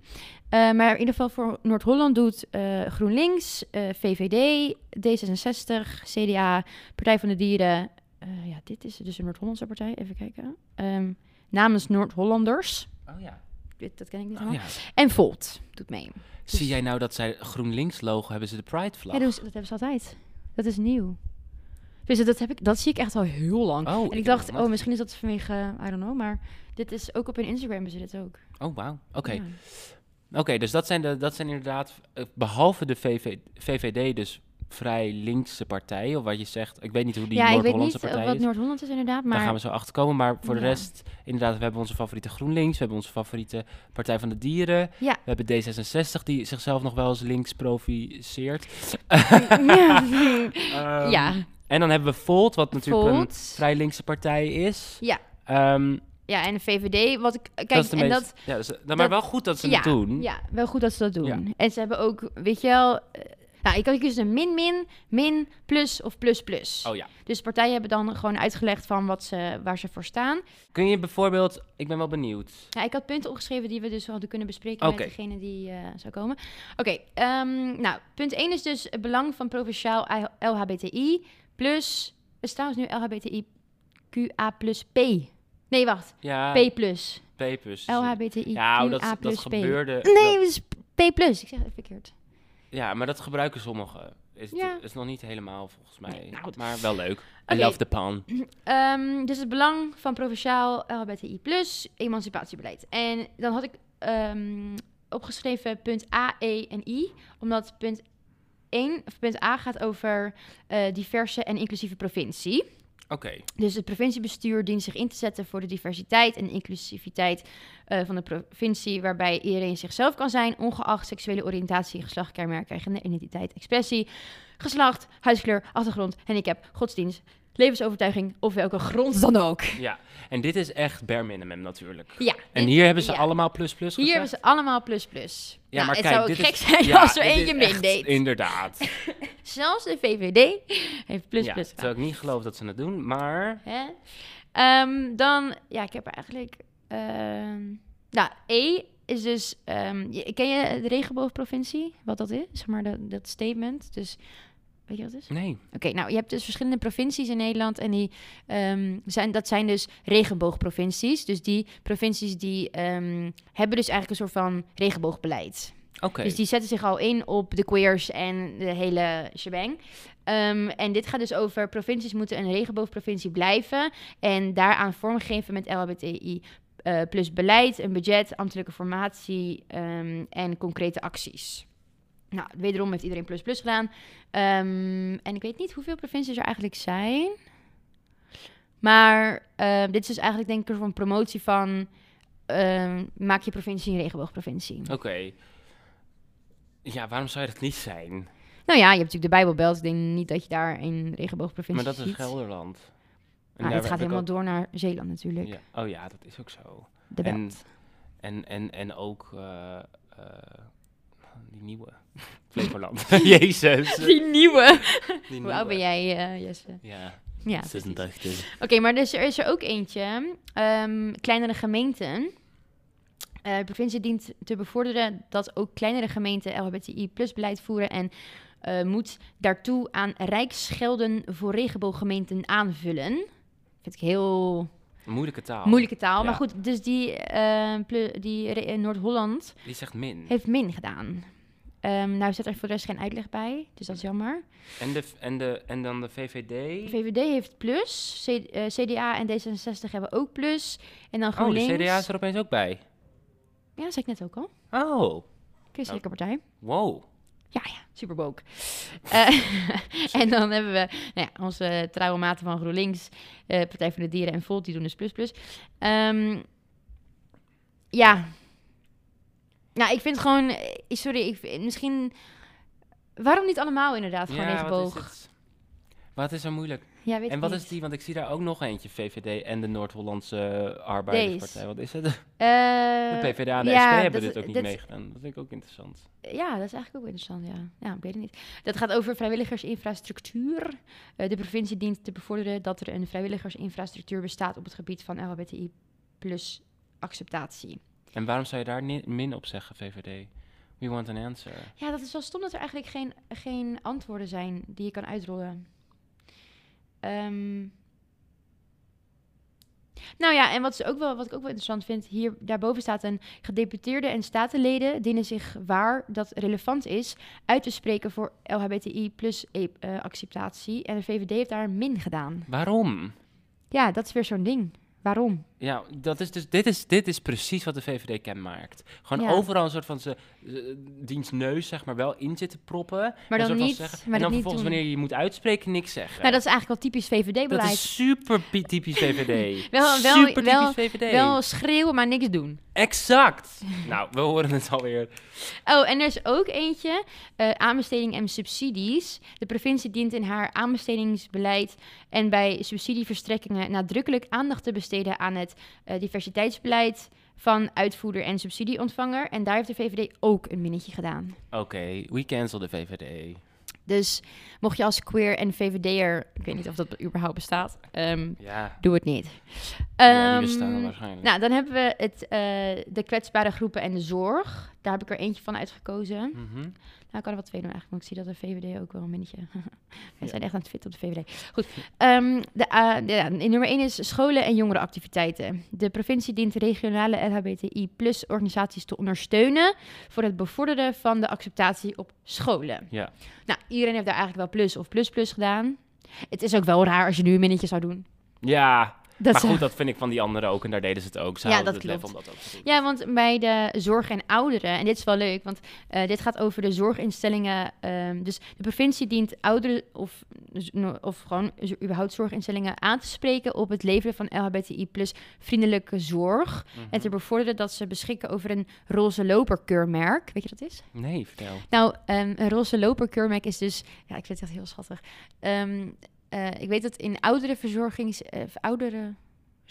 S4: Eh, maar in ieder geval voor Noord-Holland doet eh, GroenLinks, eh, VVD, D66, CDA, Partij van de Dieren. Eh, ja, dit is dus een Noord-Hollandse partij, even kijken. Ehm, namens Noord-Hollanders,
S3: Oh ja.
S4: dit, dat ken ik niet
S3: Oh
S4: helemaal.
S3: ja.
S4: En Volt doet mee.
S3: Zie jij nou dat zij GroenLinks-logo hebben ze de Pride-vlag?
S4: Ja, dus, dat hebben ze altijd. Dat is nieuw. Dus dat, heb ik, dat zie ik echt al heel lang.
S3: Oh,
S4: en
S3: ik
S4: ik
S3: heb
S4: dacht,
S3: nog nooit-
S4: oh, misschien is dat vanwege, eh, I don't know, maar dit is ook op hun Instagram hebben ze dit ook.
S3: Oh, wauw. Oké.
S4: Ja.
S3: Oké, dus dat zijn, de, dat zijn inderdaad, eh, behalve de VV, VVD, dus vrij linkse partijen, of wat je zegt, ik weet niet hoe die
S4: ja, ik weet
S3: Noord-Hollandse
S4: niet eh,
S3: partij
S4: wat
S3: is,
S4: Noord-Holland is inderdaad, maar
S3: daar gaan we zo achter komen. Maar voor de
S4: Ja.
S3: rest, inderdaad, we hebben onze favoriete GroenLinks, we hebben onze favoriete Partij van de Dieren,
S4: Ja.
S3: we hebben D66, die zichzelf nog wel eens links proficeert.
S4: ja,
S3: Ehm,
S4: ja,
S3: En dan hebben we Volt, wat natuurlijk een
S4: Volt.
S3: vrij linkse partij is.
S4: Ja.
S3: Ehm,
S4: ja, en de VVD, wat ik kijk
S3: dat is de
S4: en
S3: meest-
S4: dat
S3: ja, dus, nou, maar
S4: dat-
S3: wel goed dat ze
S4: ja,
S3: het doen.
S4: ja, wel goed dat ze dat doen.
S3: Ja.
S4: En ze hebben ook, weet je wel, eh, nou, ik kan kiezen een min min, min plus of plus plus.
S3: Oh ja.
S4: Dus partijen hebben dan gewoon uitgelegd van wat ze, waar ze voor staan.
S3: Kun je bijvoorbeeld, ik ben wel benieuwd,
S4: Ja, ik had punten opgeschreven die we dus hadden kunnen bespreken
S3: Oké.
S4: met degene die eh, zou komen. Oké, ehm, nou, punt 1 is dus het belang van provinciaal LHBTI plus, het is trouwens nu LHBTIQA plus P. Nee, wacht,
S3: Ja,
S4: P plus.
S3: papers.
S4: LHBTIQA
S3: Ah. Ja, oh, dat, dat
S4: plus P.
S3: gebeurde.
S4: Nee, dus
S3: dat-
S4: het is P plus, ik zeg het verkeerd.
S3: ja, maar dat gebruiken sommigen. Is,
S4: Ja.
S3: het, is nog niet helemaal volgens mij.
S4: nou goed.
S3: maar wel leuk. I
S4: Oké.
S3: love the pan.
S4: Ehm, dus het belang van provinciaal LHBTI emancipatiebeleid. En dan had ik ehm, opgeschreven punt A, E en I, omdat punt 1 of punt A gaat over eh, diverse en inclusieve provincie.
S3: Oké.
S4: Dus het provinciebestuur dient zich in te zetten voor de diversiteit en inclusiviteit eh, van de provincie, waarbij iedereen zichzelf kan zijn, ongeacht seksuele oriëntatie, geslacht, kenmerken, gender, identiteit, expressie, geslacht, huidskleur, achtergrond, handicap, godsdienst, levensovertuiging of welke grond dan ook.
S3: Ja. En dit is echt bare minimum natuurlijk.
S4: Ja.
S3: En hier hebben ze
S4: ja.
S3: allemaal plus plus
S4: Hier hebben
S3: gezegd?
S4: ze allemaal plus plus. Nou,
S3: Ja, maar
S4: het
S3: kijk,
S4: zou
S3: dit
S4: ook gek
S3: is-
S4: zijn
S3: Ja,
S4: als er
S3: dit is
S4: eentje min
S3: echt-
S4: deed.
S3: Inderdaad.
S4: Zelfs de VVD heeft plus
S3: ja,
S4: plus.
S3: terwijl ik niet geloof dat ze het doen, maar...
S4: Hè? Ehm, dan, ja, ik heb er eigenlijk. ehm, nou, E is dus. ehm, je- ken je de regenboogprovincie? Wat dat is? Zeg maar dat, dat statement. Dus. Weet je wat het is?
S3: Nee.
S4: Oké, nou, je hebt dus verschillende provincies in Nederland. En die, ehm, zijn, dat zijn dus regenboogprovincies. Dus die provincies die ehm, hebben dus eigenlijk een soort van regenboogbeleid.
S3: Oké.
S4: Dus die zetten zich al in op de queers en de hele shebang. Ehm, en dit gaat dus over provincies moeten een regenboogprovincie blijven. En daaraan vormgeven met LHBTI eh, plus beleid, een budget, ambtelijke formatie ehm, en concrete acties. Nou, wederom heeft iedereen plus plus gedaan. Ehm, en ik weet niet hoeveel provincies er eigenlijk zijn. Maar eh, dit is dus eigenlijk denk ik een soort van promotie van... ehm, maak je provincie een regenboogprovincie.
S3: Oké. Ja, waarom zou je dat niet zijn?
S4: Nou ja, je hebt natuurlijk de Bijbelbelt. Ik denk niet dat je daar een regenboogprovincie
S3: Maar dat is
S4: ziet.
S3: Gelderland. En
S4: Maar
S3: daar
S4: dat Nou,
S3: heb ik
S4: gaat helemaal
S3: ook-
S4: door naar Zeeland natuurlijk.
S3: Ja. Oh ja, dat is ook zo.
S4: De
S3: En-
S4: belt.
S3: En, en, en ook eh, eh, die nieuwe. Flevoland. Jezus.
S4: Die nieuwe.
S3: die
S4: Hoe oud ben jij, eh, Jesse?
S3: Ja,
S4: Ja, precies.
S3: 86.
S4: Oké, maar dus er is er ook eentje. ehm, kleinere gemeenten. Eh, de provincie dient te bevorderen dat ook kleinere gemeenten LHBTI plus beleid voeren en eh, moet daartoe aan rijksgelden voor regenbooggemeenten aanvullen. Vind ik heel
S3: Moeilijke taal.
S4: moeilijke taal.
S3: Ja.
S4: Maar goed, dus die, eh, plu- die re- eh, Noord-Holland
S3: Die zegt min.
S4: heeft min gedaan. Ehm nou zit er voor de rest geen uitleg bij, dus dat is jammer.
S3: En, de, en, de, en dan de VVD.
S4: De VVD heeft plus, C- eh, CDA en D66 hebben ook plus. En dan
S3: oh, de
S4: GroenLinks.
S3: CDA is er opeens ook bij.
S4: Ja, dat zei ik net ook al.
S3: Oh,
S4: Christelijke partij.
S3: wow.
S4: Ja, ja, superbook. Eh, en dan hebben we nou ja, onze trouwe maten van GroenLinks, eh, Partij voor de Dieren en Volt, die doen dus plus plus. Ehm, ja. Nou, ik vind het gewoon... eh, Sorry, ik, vind- misschien... Waarom niet allemaal inderdaad? Gewoon
S3: Ja, wat is
S4: regenboog.
S3: het? Wat is er moeilijk?
S4: Ja, weet
S3: en
S4: ik
S3: wat
S4: niet.
S3: is die? Want ik zie daar ook nog eentje, VVD en de Noord-Hollandse Arbeiderspartij. Wat is het? De
S4: Eh,
S3: PvdA en de
S4: ja,
S3: SP hebben
S4: dat-
S3: dit ook niet
S4: dat-
S3: meegedaan. Dat vind ik ook interessant.
S4: Ja, dat is eigenlijk ook interessant, ja. Ja, ik weet het niet. Dat gaat over vrijwilligersinfrastructuur. Eh, de provincie dient te bevorderen dat er een vrijwilligersinfrastructuur bestaat op het gebied van LHBTI plus acceptatie.
S3: En waarom zou je daar ni- min op zeggen, VVD? We want an answer.
S4: Ja, dat is wel stom dat er eigenlijk geen, geen antwoorden zijn die je kan uitrollen. Ehm, nou ja, en wat, is ook wel, wat ik ook wel interessant vind, hier daarboven staat een gedeputeerde en statenleden dienen zich waar dat relevant is uit te spreken voor LHBTI plus E eh, acceptatie. En de VVD heeft daar een min gedaan.
S3: Waarom?
S4: Ja, dat is weer zo'n ding. Waarom?
S3: Ja, dat is dus, dit, is, dit is precies wat de VVD kenmaakt. Gewoon
S4: Ja.
S3: overal een soort van ze, eh, diens neus, zeg maar, wel in zitten proppen.
S4: Maar
S3: Een
S4: dan
S3: soort van
S4: niet-
S3: zeggen-
S4: maar
S3: en dan
S4: dat niet
S3: vervolgens,
S4: doen.
S3: wanneer je je moet uitspreken, niks zeggen.
S4: Nou, dat is eigenlijk wel typisch
S3: Dat
S4: VVD-beleid.
S3: is super pi- typisch VVD.
S4: Wel- wel-
S3: super typisch
S4: wel-
S3: VVD.
S4: Wel schreeuwen, maar niks doen.
S3: Exact. nou, we horen het alweer.
S4: Oh, en er is ook eentje. eh, aanbesteding en subsidies. De provincie dient in haar aanbestedingsbeleid en bij subsidieverstrekkingen nadrukkelijk aandacht te besteden aan het eh, diversiteitsbeleid van uitvoerder en subsidieontvanger. En daar heeft de VVD ook een minnetje gedaan.
S3: Oké, we cancel de VVD.
S4: Dus mocht je als queer en VVD'er, ik weet niet of dat überhaupt bestaat, ehm,
S3: Ja,
S4: doe het niet.
S3: ja
S4: Ehm,
S3: die bestaan waarschijnlijk.
S4: nou, dan hebben we het, eh, de kwetsbare groepen en de zorg. Daar heb ik er eentje van uitgekozen.
S3: Mhm.
S4: Nou, ik kan er wel twee doen eigenlijk, want ik zie dat de VVD ook wel een minnetje. Wij
S3: Ja.
S4: zijn echt aan het fitten op de VVD. Goed, ehm, de, eh, de- ja, nummer één is scholen en jongerenactiviteiten. De provincie dient regionale LHBTI plus organisaties te ondersteunen voor het bevorderen van de acceptatie op scholen.
S3: Ja.
S4: Nou, iedereen heeft daar eigenlijk wel plus of plus plus gedaan. Het is ook wel raar als je nu een minnetje zou doen.
S3: Ja,
S4: Dat
S3: maar
S4: zou-
S3: goed, dat vind ik van die anderen ook. En daar deden ze het ook. Ze
S4: Ja,
S3: hadden
S4: dat
S3: het lef
S4: klopt.
S3: om dat ook te doen.
S4: Ja, want bij de zorg en ouderen, en dit is wel leuk, want eh, dit gaat over de zorginstellingen. ehm, dus de provincie dient ouderen of, dus no- of gewoon z- überhaupt zorginstellingen aan te spreken op het leveren van LHBTI plus vriendelijke zorg.
S3: Mhm.
S4: En te bevorderen dat ze beschikken over een roze loperkeurmerk. Weet je wat dat is?
S3: Nee, vertel.
S4: Nou, ehm, een roze loperkeurmerk is dus... Ja, ik vind het echt heel schattig. Ehm, eh, ik weet dat in oudere verzorgings... eh, oudere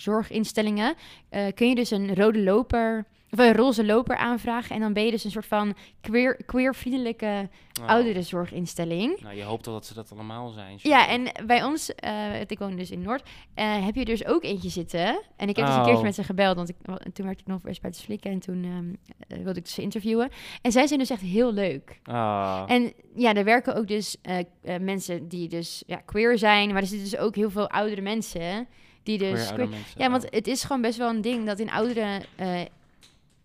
S4: zorginstellingen eh, kun je dus een rode loper... Of een roze loper aanvragen. En dan ben je dus een soort van queer, queer-vriendelijke
S3: Nou,
S4: oudere zorginstelling.
S3: Nou, je hoopt toch dat ze dat allemaal zijn.
S4: Ja, en bij ons, eh, want ik woon dus in Noord, eh, heb je dus ook eentje zitten. En ik heb dus een keertje
S3: Oh.
S4: met ze gebeld, want ik, wa- toen werkte ik nog eerst bij de Slikken en toen ehm, eh, wilde ik ze interviewen. En zij zijn dus echt heel leuk.
S3: Ah.
S4: En ja, er werken ook dus eh, eh, mensen die dus ja, queer zijn, maar er zitten dus ook heel veel oudere mensen die dus
S3: Queer
S4: queer-
S3: oude mensen.
S4: Ja, want
S3: Oh.
S4: het is gewoon best wel een ding dat in oudere eh,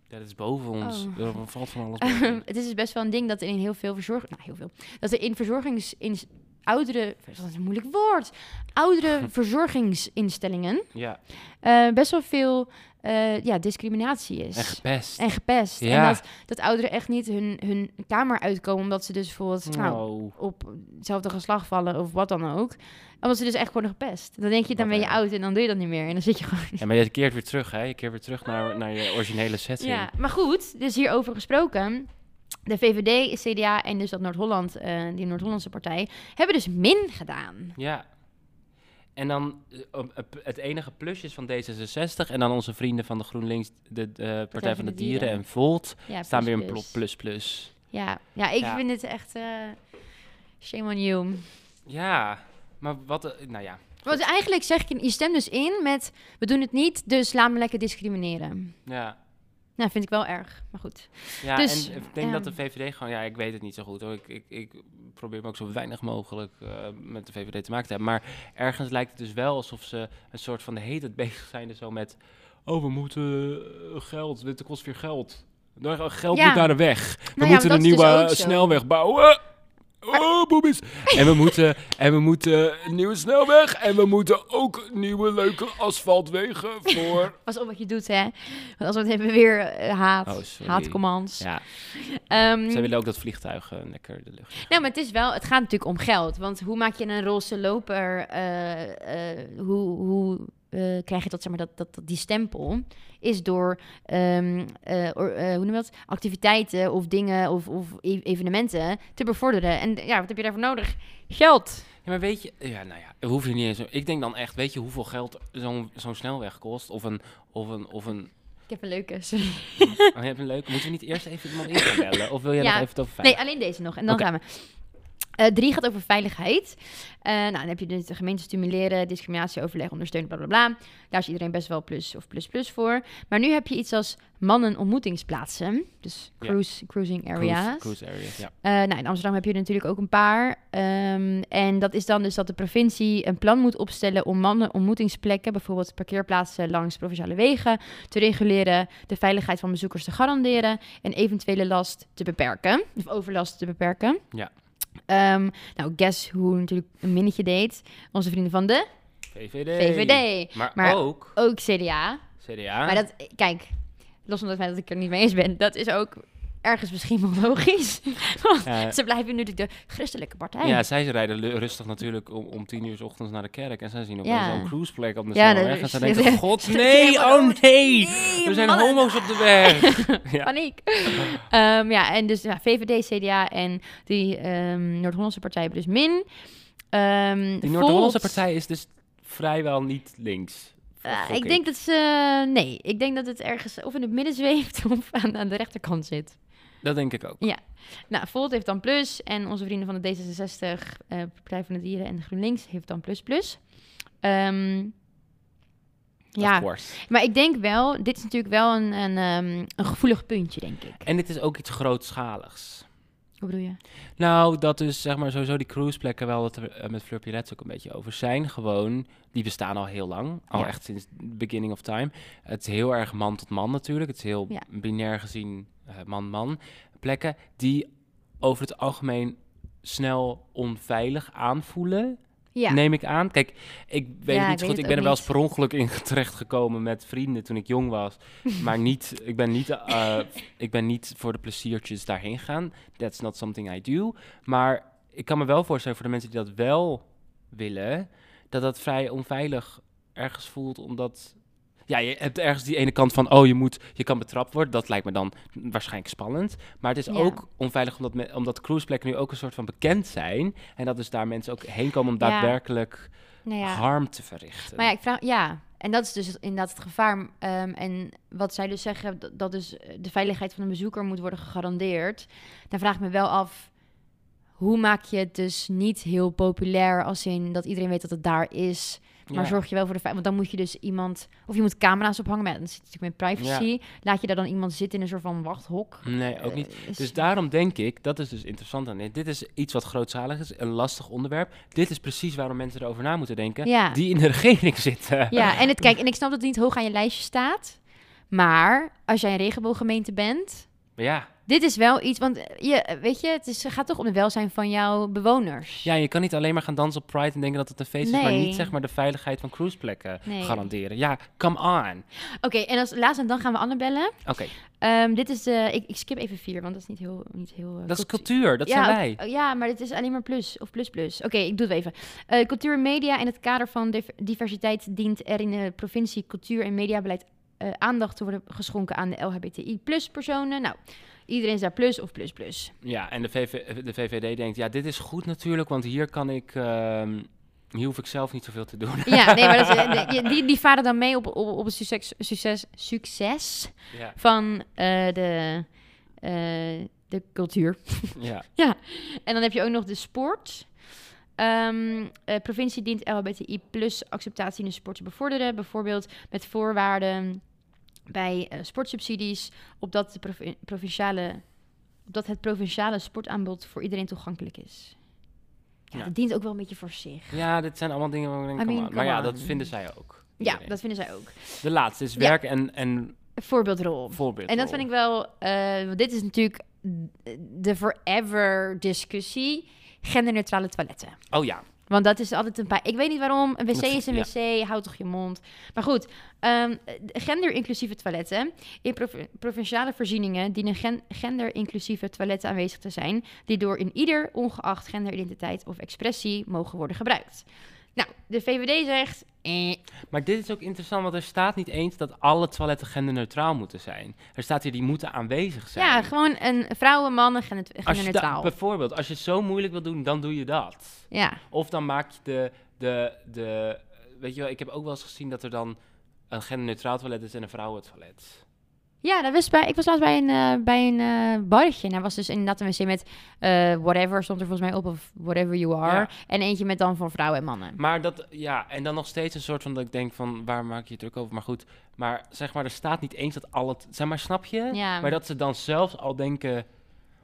S3: Ja, dat is boven ons.
S4: Oh.
S3: Er valt van alles boven. ons.
S4: het is dus best wel een ding dat er in heel veel verzorg, nou heel veel, dat er in verzorgings in oudere, dat is een moeilijk woord, oudere verzorgingsinstellingen
S3: Ja,
S4: eh, best wel veel eh, ja, discriminatie is.
S3: en gepest.
S4: En gepest.
S3: Ja.
S4: En dat, dat ouderen echt niet hun, hun kamer uitkomen omdat ze dus bijvoorbeeld, nou,
S3: Oh.
S4: op hetzelfde geslacht vallen of wat dan ook. Omdat ze dus echt worden gepest. Dan denk je, dan
S3: Wat
S4: ben je
S3: erg.
S4: oud en dan doe je dat niet meer. En dan zit je gewoon...
S3: Ja, maar je keert weer terug, hè? Je keert weer terug naar, naar je originele setting.
S4: Ja, maar goed, dus hierover gesproken. De VVD, CDA en dus dat Noord-Holland, eh, die Noord-Hollandse partij, hebben dus min gedaan.
S3: Ja. En dan eh, op- op- het enige plusje is van D66 en dan onze vrienden van de GroenLinks, de, de Partij, van de, Dieren, en Volt,
S4: Ja,
S3: staan
S4: plus,
S3: weer een
S4: plus.
S3: plus plus plus.
S4: Ja, ja ik
S3: Ja.
S4: vind het echt... eh, shame on you.
S3: Ja, maar wat, eh, nou ja.
S4: Want eigenlijk zeg ik, je stemt dus in met... We doen het niet, dus laat me lekker discrimineren.
S3: Ja,
S4: Nou, vind ik wel erg, maar goed.
S3: ja
S4: Dus,
S3: en ik denk
S4: ja.
S3: dat de VVD gewoon, ja, ik weet het niet zo goed hoor. Ik, ik, ik probeer me ook zo weinig mogelijk eh, met de VVD te maken te hebben. Maar ergens lijkt het dus wel alsof ze een soort van de hete bezig zijn er zo met, oh we moeten eh, geld, dit kost weer geld. Nou, Geld
S4: Ja.
S3: moet naar de weg. We
S4: Nou ja,
S3: moeten
S4: dat
S3: een
S4: is dus
S3: nieuwe
S4: ook zo.
S3: snelweg bouwen. Oh, boobies. En we, moeten, en we moeten een nieuwe snelweg. En we moeten ook nieuwe leuke asfaltwegen voor...
S4: Pas op wat je doet, hè. Want als we het hebben weer eh, haat,
S3: Oh, sorry.
S4: haatcommands.
S3: Ja, Mm.
S4: Ehm,
S3: zij willen ook dat vliegtuigen lekker de lucht...
S4: Nou, maar het is wel, het gaat natuurlijk om geld. Want hoe maak je een roze loper, eh, eh, hoe, hoe eh, krijg je dat, zeg maar, dat, dat, dat- die stempel? Is door, ehm, eh, or- eh, hoe noem je dat, activiteiten of dingen of, of e- evenementen te bevorderen. En ja, wat heb je daarvoor nodig? Geld.
S3: Ja, maar weet je... Ja, nou ja, we hoeven er niet eens... Ik denk dan echt, weet je hoeveel geld zo'n zo'n snelweg kost? Of een... Of een, of een
S4: Ik heb een leuke, sorry.
S3: oh, je hebt een leuke... Moeten we niet eerst even iemand in gaan bellen? Of wil jij
S4: Ja.
S3: nog even het over
S4: Nee,
S3: veilig-
S4: alleen deze nog. En dan
S3: Oké.
S4: gaan we. Eh, drie gaat over veiligheid. Eh, nou, dan heb je dus de gemeente stimuleren, discriminatieoverleg ondersteunen, bla bla bla. Daar is iedereen best wel plus of plus plus voor. Maar nu heb je iets als mannen ontmoetingsplaatsen. Dus
S3: Ja.
S4: cruise, cruising areas.
S3: Cruise, cruise areas, ja.
S4: Eh, nou, in Amsterdam heb je er natuurlijk ook een paar. Ehm, en dat is dan dus dat de provincie een plan moet opstellen om mannen ontmoetingsplekken, bijvoorbeeld parkeerplaatsen langs provinciale wegen, te reguleren, de veiligheid van bezoekers te garanderen en eventuele last te beperken, of overlast te beperken.
S3: Ja.
S4: Ehm, nou, guess hoe natuurlijk een minnetje deed. Onze vrienden van de
S3: VVD.
S4: VVD.
S3: Maar,
S4: Maar-
S3: ook
S4: Ook CDA.
S3: CDA.
S4: Maar dat, kijk, los van het feit dat ik er niet mee eens ben, dat is ook ergens misschien wel logisch. Want
S3: Eh,
S4: ze blijven nu de christelijke partij.
S3: Ja, zij rijden lu- rustig natuurlijk om, om tien uur 's ochtends naar de kerk. En zij zien opeens
S4: Ja.
S3: zo'n cruiseplek op de
S4: Ja,
S3: snelweg.
S4: dat
S3: En
S4: is-
S3: zij denken, god nee,
S4: helemaal
S3: oh nee, er zijn
S4: mannen.
S3: homo's op de weg. Ja.
S4: Paniek. Ehm, ja, en dus ja, VVD, CDA en die ehm, Noord-Hollandse partij hebben dus min. Ehm,
S3: Die Noord-Hollandse
S4: Volt,
S3: partij is dus vrijwel niet links.
S4: eh,
S3: Gok
S4: ik denk dat ze... Nee, ik denk dat het ergens of in het midden zweeft of aan, aan de rechterkant zit.
S3: Dat denk ik ook.
S4: Nou, Volt heeft dan plus en onze vrienden van de D66, eh, Partij van de Dieren en GroenLinks heeft dan plus plus. Ehm,
S3: Ja.
S4: ja, maar ik denk wel, dit is natuurlijk wel een, een, ehm, een gevoelig puntje, denk ik.
S3: En dit is ook iets grootschaligs.
S4: Hoe bedoel je?
S3: Nou, dat is zeg maar sowieso die cruiseplekken wel dat we eh, met Fleur Piret ook een beetje over zijn. Gewoon, die bestaan al heel lang. Al
S4: Ja.
S3: echt sinds beginning of time. Het is heel erg man tot man natuurlijk. Het is heel
S4: Ja.
S3: binair gezien eh, man-man. Plekken die over het algemeen snel onveilig aanvoelen,
S4: Ja.
S3: neem ik aan. Kijk, ik weet
S4: Ja,
S3: het
S4: ik
S3: niet zo
S4: weet
S3: goed.
S4: het
S3: Ik ben er
S4: ook
S3: wel eens
S4: niet.
S3: per ongeluk in terechtgekomen met vrienden toen ik jong was. maar niet, ik ben niet, eh, ik ben niet voor de pleziertjes daarheen gegaan. That's not something I do. Maar ik kan me wel voorstellen voor de mensen die dat wel willen, dat dat vrij onveilig ergens voelt, omdat... Ja, je hebt ergens die ene kant van, oh, je, moet, je kan betrapt worden. Dat lijkt me dan waarschijnlijk spannend. Maar het is
S4: Ja.
S3: ook onveilig omdat, me, omdat cruiseplekken nu ook een soort van bekend zijn. En dat dus daar mensen ook heen komen om
S4: Ja.
S3: daadwerkelijk
S4: Nou ja.
S3: harm te verrichten.
S4: Maar ja, ik vraag, ja, en dat is dus het- inderdaad het gevaar. Ehm, en wat zij dus zeggen, dat, dat dus eh, de veiligheid van een bezoeker moet worden gegarandeerd. Dan vraag ik me wel af, hoe maak je het dus niet heel populair als in dat iedereen weet dat het daar is. Maar
S3: Ja.
S4: zorg je wel voor de veiligheid, want dan moet je dus iemand, of je moet camera's ophangen, maar ja, dan zit je natuurlijk met privacy. Laat je daar dan iemand zitten in een soort van wachthok.
S3: Nee, ook
S4: Eh,
S3: niet.
S4: is-
S3: Dus daarom denk ik, dat is dus interessant aan dit. Dit is iets wat grootzalig is, een lastig onderwerp. Dit is precies waarom mensen erover na moeten denken,
S4: Ja.
S3: die in de regering zitten.
S4: Ja, en, het, kijk, en ik snap dat het niet hoog aan je lijstje staat. Maar als jij een regenbooggemeente bent,
S3: ja.
S4: Dit is wel iets, want eh, je, eh, weet je, het is, gaat toch om het welzijn van jouw bewoners.
S3: Ja, je kan niet alleen maar gaan dansen op Pride en denken dat het een feest is, maar
S4: Nee.
S3: niet zeg maar de veiligheid van cruiseplekken
S4: Nee.
S3: garanderen. Ja, come on.
S4: Oké, en als laatste, en dan gaan we Anne bellen.
S3: Oké,
S4: Ehm, dit is de, ik, ik skip even vier, want dat is niet heel, niet heel. eh,
S3: dat is
S4: cultu-
S3: cultuur, dat
S4: ja,
S3: zijn wij.
S4: oh, ja, maar dit is alleen maar plus of plus plus. Oké, ik doe het even. Eh, cultuur en media in het kader van div- diversiteit dient er in de provincie cultuur en mediabeleid eh, aandacht te worden geschonken aan de LHBTI plus personen. Nou, iedereen is daar plus of plus plus.
S3: Ja, en de, VV, de VVD denkt, ja, dit is goed natuurlijk, want hier kan ik, ehm, hier hoef ik zelf niet zoveel te doen.
S4: Ja, nee, maar dat is- die- die, die varen dan mee op, op, op het succes, succes, succes
S3: Ja,
S4: van eh, de, eh, de cultuur.
S3: ja.
S4: En dan heb je ook nog de sport. Ehm, eh, provincie dient LHBTI plus acceptatie in de sport te bevorderen. Bijvoorbeeld met voorwaarden bij eh, sportsubsidies. Opdat, de provi- provinciale, opdat het provinciale sportaanbod voor iedereen toegankelijk is. Ja,
S3: Ja.
S4: dat dient ook wel een beetje voor zich.
S3: ja, dit zijn allemaal dingen waarvan ik denk,
S4: I
S3: come
S4: mean,
S3: on. Maar
S4: come
S3: ja,
S4: on.
S3: dat vinden zij ook.
S4: Ja,
S3: iedereen.
S4: dat vinden zij ook.
S3: De laatste is
S4: Ja.
S3: werk en, en
S4: Voorbeeldrol.
S3: voorbeeld.
S4: En dat vind ik wel, eh, want dit is natuurlijk de forever discussie. Genderneutrale toiletten.
S3: Oh ja,
S4: Want dat is altijd een paar. Ik weet niet waarom. Een wc
S3: Dat-
S4: is een
S3: ja.
S4: wc. Houd toch je mond. Maar goed, ehm, genderinclusieve toiletten. In prov- provinciale voorzieningen dienen gen genderinclusieve toiletten aanwezig te zijn. Die door in ieder, ongeacht genderidentiteit of expressie, mogen worden gebruikt. Nou, de VVD zegt. eh,
S3: maar dit is ook interessant, want er staat niet eens dat alle toiletten genderneutraal moeten zijn. Er staat hier, die moeten aanwezig zijn.
S4: ja, gewoon een vrouwen, mannen, gender-
S3: als je da-
S4: genderneutraal.
S3: Bijvoorbeeld, als je het zo moeilijk wil doen, dan doe je dat.
S4: Ja.
S3: Of dan maak je de, de, de... Weet je wel, ik heb ook wel eens gezien dat er dan een genderneutraal toilet is en een vrouwentoilet.
S4: Ja, dat was bij, ik was laatst bij een, eh, bij een eh, barretje. En daar was dus inderdaad een wc met eh, whatever stond er volgens mij op. Of whatever you are.
S3: Ja.
S4: En eentje met dan voor vrouwen en mannen.
S3: Maar dat, ja, en dan nog steeds een soort van dat ik denk van, waar maak je je druk over? Maar goed, maar zeg maar, er staat niet eens dat al het... Zeg maar, snap je?
S4: Ja.
S3: Maar dat ze dan zelfs al denken...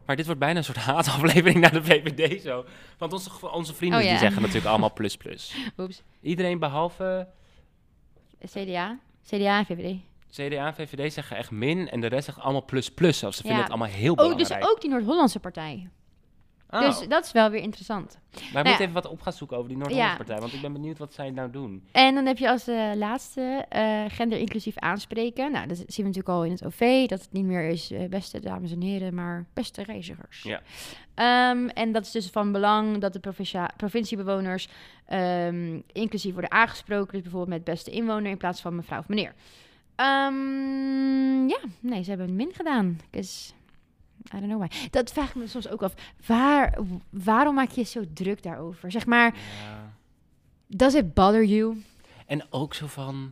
S3: Maar dit wordt bijna een soort haataflevering naar de VVD zo. Want onze, onze vrienden
S4: Oh ja.
S3: die zeggen natuurlijk allemaal plus plus.
S4: Oeps.
S3: Iedereen behalve
S4: CDA. CDA en VVD.
S3: CDA en VVD zeggen echt min en de rest zegt allemaal plus plus. Zelfs ze vinden
S4: Ja.
S3: het allemaal heel
S4: Oh,
S3: belangrijk.
S4: dus ook die Noord-Hollandse partij.
S3: Oh.
S4: Dus dat is wel weer interessant.
S3: Maar we
S4: Nou
S3: moeten
S4: ja.
S3: even wat op gaan zoeken over die Noord-Hollandse
S4: Ja.
S3: partij. Want ik ben benieuwd wat zij nou doen.
S4: En dan heb je als eh, laatste eh, gender inclusief aanspreken. Nou, dat zien we natuurlijk al in het OV. Dat het niet meer is eh, beste dames en heren, maar beste reizigers.
S3: Ja.
S4: Ehm, en dat is dus van belang dat de provincia- provinciebewoners ehm, inclusief worden aangesproken. Dus bijvoorbeeld met beste inwoner in plaats van mevrouw of meneer. Ehm, ja, nee, ze hebben een min gedaan. Dus, I don't know why. Dat vraag ik me soms ook af. Waar, waarom maak je je zo druk daarover? Zeg maar, does it bother you?
S3: En ook zo van...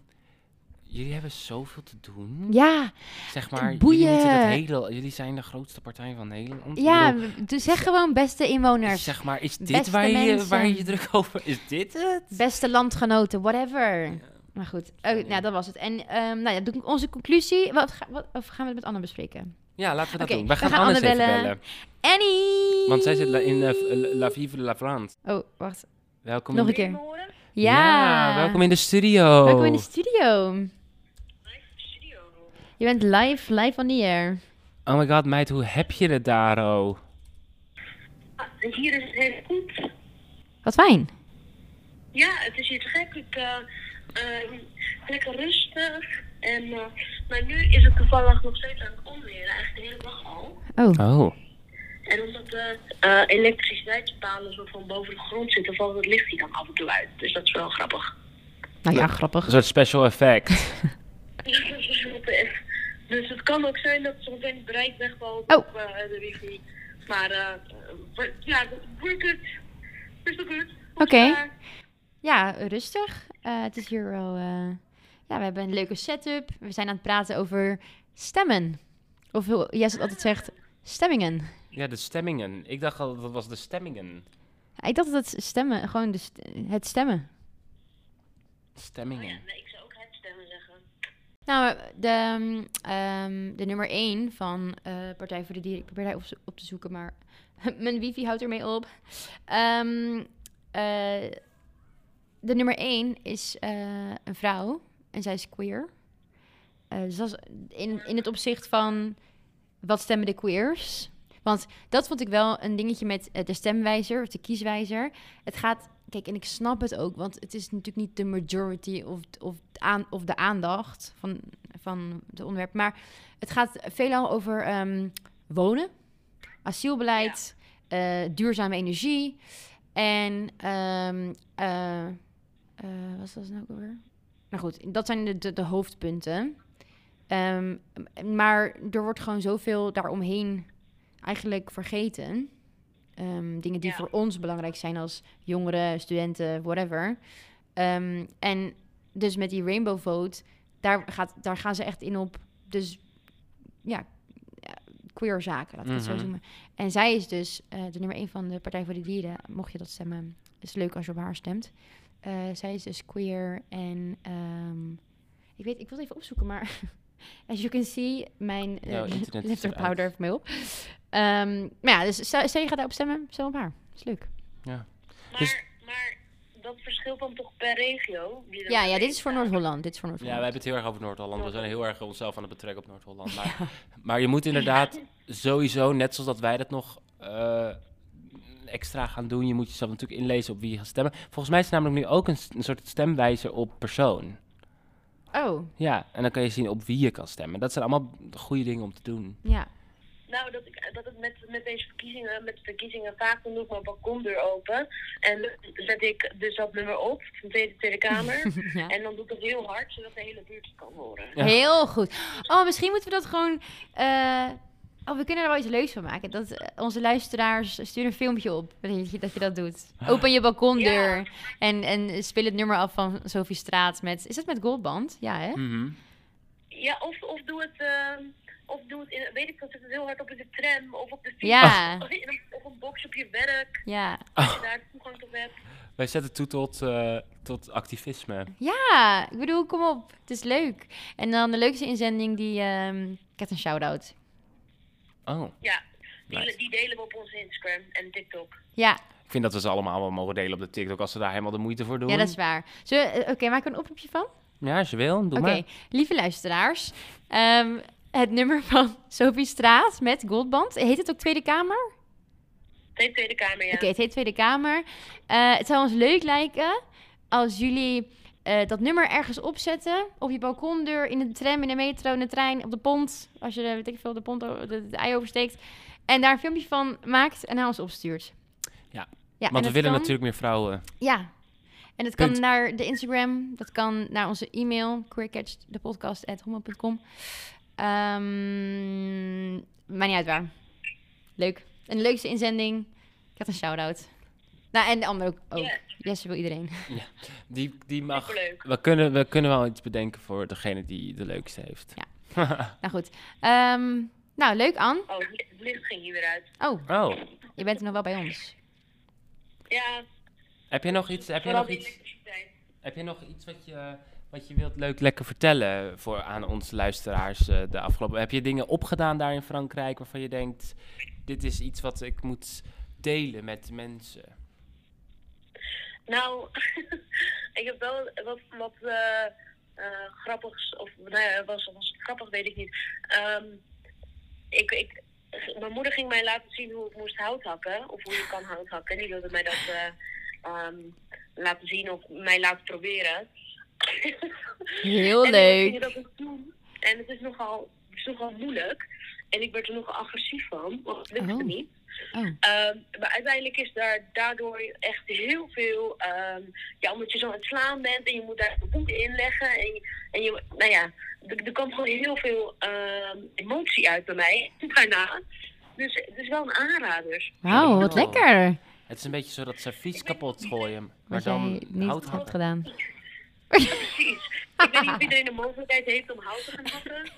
S3: Jullie hebben zoveel te doen.
S4: Ja,
S3: Zeg maar,
S4: boeien.
S3: jullie, moeten dat hele, jullie zijn de grootste partij van Nederland. Ik
S4: ja,
S3: bedoel,
S4: dus zeg gewoon beste
S3: is,
S4: inwoners,
S3: zeg maar, is dit
S4: Beste
S3: waar je,
S4: mensen.
S3: waar je je druk over... Is dit het?
S4: beste landgenoten, whatever. Maar goed, eh,
S3: Sorry.
S4: nou, dat was het. En ehm, nou ja, doe ik onze conclusie. Wat, ga- wat, of gaan we het met Anne bespreken?
S3: Ja, laten we dat
S4: Oké,
S3: doen. We
S4: we
S3: gaan,
S4: gaan
S3: Anne
S4: Anne
S3: even
S4: bellen.
S3: bellen.
S4: Annie!
S3: Want zij zit la- in eh, La Vive de la France.
S4: Oh, wacht.
S3: Welkom
S4: Nog
S3: in
S4: een
S3: de...
S4: keer. Ja.
S3: Ja. welkom in Oh. de studio.
S4: Welkom in de studio. Je bent live, live on the air.
S3: Oh my god, meid, hoe heb je het daar, oh?
S5: Ah, en hier is het heel goed.
S4: Wat fijn.
S5: Ja, het is hier te gek. Ik, eh, ehm, lekker rustig. En, eh, maar nu is het toevallig nog steeds aan het onweren, eigenlijk de hele dag al.
S4: Oh,
S3: Oh.
S5: En omdat de eh, elektriciteitspalen zo van boven de grond zitten, valt het licht hier dan af en toe uit. Dus dat is wel grappig.
S4: nou ja, grappig.
S3: Een soort special effect.
S5: Dus het kan ook zijn dat zometeen het bereik wegvalt
S4: Oh.
S5: op eh, de wifi. Maar eh, we- ja, we're good. We're so good.
S4: Oké.
S5: eh,
S4: Ja, rustig. Eh, het is hier wel... eh, Ja, we hebben een leuke setup. We zijn aan het praten over stemmen. Of hoe jij het altijd zegt, stemmingen.
S3: ja, de stemmingen. Ik dacht al, dat was de stemmingen.
S4: Ik dacht dat het stemmen, gewoon de st- het stemmen.
S3: Stemmingen.
S5: Oh Nee, ik zou ook het stemmen zeggen.
S4: Nou, de, ehm, de nummer 1 van eh, Partij voor de Dieren. Ik probeer daar op, zo- op te zoeken, maar mijn wifi houdt ermee op. Ehm, eh, de nummer 1 is eh, een vrouw en zij is queer. Eh, dus dat is in, in het opzicht van wat stemmen de queers? Want dat vond ik wel een dingetje met eh, de stemwijzer of de kieswijzer. Het gaat, kijk, en ik snap het ook, want het is natuurlijk niet de majority of, of, het aan, of de aandacht van, van het onderwerp. Maar het gaat veelal over ehm, wonen, asielbeleid, eh, duurzame energie en ehm, eh, eh, wat was dat nou ook alweer? Nou goed, dat zijn de, de, de hoofdpunten. Ehm, maar er wordt gewoon zoveel daaromheen eigenlijk vergeten. Ehm, dingen die
S5: Ja.
S4: voor ons belangrijk zijn als jongeren, studenten, whatever. Ehm, en dus met die rainbow vote, daar, gaat, daar gaan ze echt in op. Dus ja, ja, queer zaken, laat ik het
S3: Mhm.
S4: zo noemen. En zij is dus eh, de nummer één van de Partij voor de Dieren. Mocht je dat stemmen, is leuk als je op haar stemt. Eh, zij is dus queer en ehm, ik weet, ik wil het even opzoeken, maar as you can see, mijn eh,
S3: Jouw internet is
S4: laptop
S3: eruit.
S4: houdt er mee op. Ehm, maar ja, dus stel, stel je gaat daarop stemmen, stem op haar. Is leuk.
S5: Maar,
S3: Dus-
S5: maar dat verschilt dan toch per regio? wie er
S4: Ja,
S5: mee
S4: ja, dit is voor
S5: staat?
S4: Noord-Holland. Dit is voor
S3: Ja, we hebben
S4: Noord-Holland.
S3: het heel erg over Noord-Holland. We zijn heel erg onszelf aan het betrekken op Noord-Holland. Maar, maar je moet inderdaad sowieso, net zoals dat wij dat nog eh, extra gaan doen, je moet jezelf natuurlijk inlezen op wie je gaat stemmen. Volgens mij is er namelijk nu ook een, s- een soort stemwijzer op persoon.
S4: oh,
S3: Ja, en dan kan je zien op wie je kan stemmen. Dat zijn allemaal goede dingen om te doen.
S4: ja.
S5: Nou, dat, ik, dat het met, met deze verkiezingen, met de verkiezingen vaak dan doe ik mijn balkondeur open. En dan zet ik dus dat nummer op van de Tweede Kamer.
S4: ja.
S5: en dan doe ik dat heel hard, zodat de hele buurt het kan horen.
S3: Ja.
S4: Heel goed. Oh, misschien moeten we dat gewoon. eh, oh, we kunnen er wel iets leuks van maken. Dat eh, onze luisteraars stuur een filmpje op dat je dat, je dat doet. Open je balkondeur en, en speel het nummer af van Sophie Straat met. Is dat met Goldband? Ja, hè?
S3: Mhm.
S5: Ja, of, of doe het... ehm, of doe het in, weet ik dat het heel hard op in de tram of op de fiets.
S4: Ja. Oh.
S5: Of, in een, of een box op je werk,
S4: Ja.
S5: als je daar toegang tot hebt.
S3: Wij zetten toe tot, eh, tot activisme.
S4: Ja, ik bedoel, kom op. Het is leuk. En dan de leukste inzending die. ehm ik heb een shout-out.
S3: Oh,
S5: Ja, die,
S3: Nice.
S5: die delen we op onze Instagram en TikTok.
S4: Ja,
S3: ik vind dat we ze allemaal wel mogen delen op de TikTok als ze daar helemaal de moeite voor doen.
S4: ja, dat is waar. Zullen we- eh, Oké, maak er een oproepje van?
S3: Ja, als je wil,
S4: Oké,
S3: doe maar.
S4: lieve luisteraars. ehm, het nummer van Sophie Straat met Goldband. Heet het ook Tweede Kamer?
S5: Nee, Tweede Kamer, ja.
S4: Oké, het heet Tweede Kamer. Eh, het zou ons leuk lijken als jullie eh, dat nummer ergens opzetten. Op je balkondeur, in de tram, in de metro, in de trein, op de pont. Als je, eh, weet ik veel, de pont, o- de, de ei oversteekt. En daar een filmpje van maakt en naar ons opstuurt.
S3: Ja,
S4: ja en
S3: Want we
S4: dat
S3: willen
S4: kan-
S3: natuurlijk meer vrouwen.
S4: Ja. En dat kan
S3: Punt.
S4: naar de Instagram, dat kan naar onze e-mail, queercatchdepodcast.homo.com. Ehm maar niet uit waar. Leuk. En de leukste inzending, ik had een shout-out. Nou, en de ander ook. ook.
S5: Ja.
S4: Yes, wil iedereen.
S3: Die, die mag.
S5: Superleuk.
S3: We kunnen, we kunnen wel iets bedenken voor degene die de leukste heeft.
S4: Nou goed. Ehm, nou, leuk Anne.
S5: Oh, het licht ging hier weer uit.
S4: Oh,
S3: Oh,
S4: je bent er nog wel bij ons.
S5: Ja,
S3: heb je nog iets? Heb je
S5: vooral
S3: nog
S5: die
S3: iets?
S5: elektriciteit.
S3: Heb je nog iets wat je, wat je wilt leuk lekker vertellen voor aan onze luisteraars eh, de afgelopen? Heb je dingen opgedaan daar in Frankrijk waarvan je denkt dit is iets wat ik moet delen met mensen?
S5: Nou, ik heb wel wat, wat eh, eh, grappigs, of nou ja, was, was het grappig, weet ik niet. Ehm, ik, ik, mijn moeder ging mij laten zien hoe ik moest hout hakken. Of hoe je kan hout hakken. Die wilde mij dat eh, ehm, laten zien of mij laten proberen.
S4: Heel
S5: En toen
S4: leuk.
S5: ging je dat ook doen. En het is nogal, het is nogal moeilijk. En ik werd er nogal agressief van, want het lukte
S4: Oh.
S5: niet.
S4: Oh.
S5: Ehm, maar uiteindelijk is daar daardoor echt heel veel... ehm, ja, omdat je zo aan het slaan bent en je moet daar de boek in leggen. En, en je, nou ja, er, er kwam gewoon heel veel ehm, emotie uit bij mij daarna. Dus het is wel een aanrader.
S4: Wauw, wat
S3: Oh.
S4: lekker.
S3: Het is een beetje zo dat servies kapot gooien, maar
S4: Wat
S3: dan
S4: jij niet
S3: hout
S4: hebt
S3: hakken.
S4: gedaan.
S5: Precies. ik weet niet of iedereen de mogelijkheid heeft om hout te gaan hakken.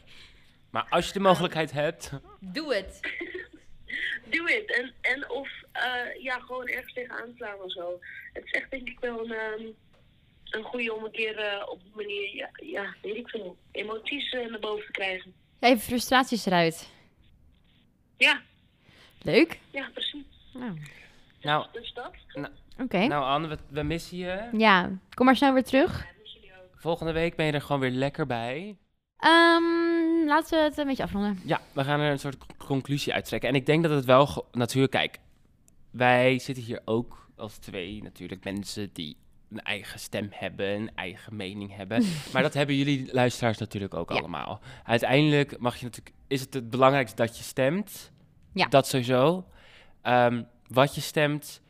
S3: Maar als je de mogelijkheid hebt,
S4: Doe het.
S5: Doe het. En, en of eh, ja, gewoon ergens tegen aanslaan of zo. Het is echt denk ik wel een, ehm, een goede om een keer eh, op die manier, ja, ja, weet ik veel, emoties eh, naar boven te krijgen.
S4: Even frustraties eruit.
S5: Ja,
S4: Leuk.
S5: ja, precies.
S4: Nou,
S3: nou,
S5: Dus dat.
S4: Oké.
S3: nou Anne, we, we missen je.
S4: Ja, kom maar snel weer terug.
S5: Ja, dus jullie ook.
S3: Volgende week ben je er gewoon weer lekker bij.
S4: Ehm, laten we het een beetje afronden.
S3: Ja, we gaan er een soort c- conclusie uittrekken. En ik denk dat het wel... ge- Natuurlijk, kijk, wij zitten hier ook als twee natuurlijk mensen die een eigen stem hebben, een eigen mening hebben. maar dat hebben jullie luisteraars natuurlijk ook
S4: Ja.
S3: allemaal. Uiteindelijk mag je natuurlijk... Is het het belangrijkste dat je stemt?
S4: Ja.
S3: Dat sowieso. Ehm, wat je stemt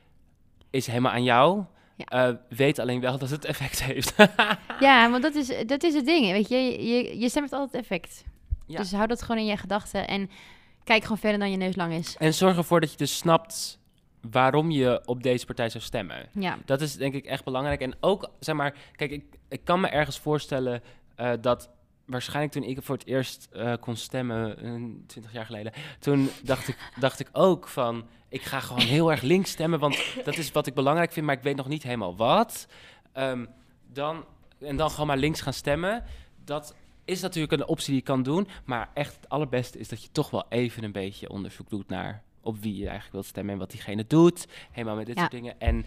S3: is helemaal aan jou.
S4: Ja.
S3: Eh, weet alleen wel dat het effect heeft.
S4: Ja, want dat is, dat is het ding. Weet je, je, je stem heeft altijd effect.
S3: Ja.
S4: Dus hou dat gewoon in je gedachten en kijk gewoon verder dan je neus lang is.
S3: en zorg ervoor dat je dus snapt waarom je op deze partij zou stemmen.
S4: Ja.
S3: Dat is denk ik echt belangrijk. En ook, zeg maar, kijk, ik, ik kan me ergens voorstellen eh, dat waarschijnlijk toen ik voor het eerst eh, kon stemmen, twintig jaar geleden, toen dacht ik, dacht ik ook van, ik ga gewoon heel erg links stemmen, want dat is wat ik belangrijk vind, maar ik weet nog niet helemaal wat. Ehm, dan, en dan gewoon maar links gaan stemmen. Dat is natuurlijk een optie die je kan doen, maar echt het allerbeste is dat je toch wel even een beetje onderzoek doet naar op wie je eigenlijk wilt stemmen en wat diegene doet, helemaal met dit
S4: Ja.
S3: soort dingen. En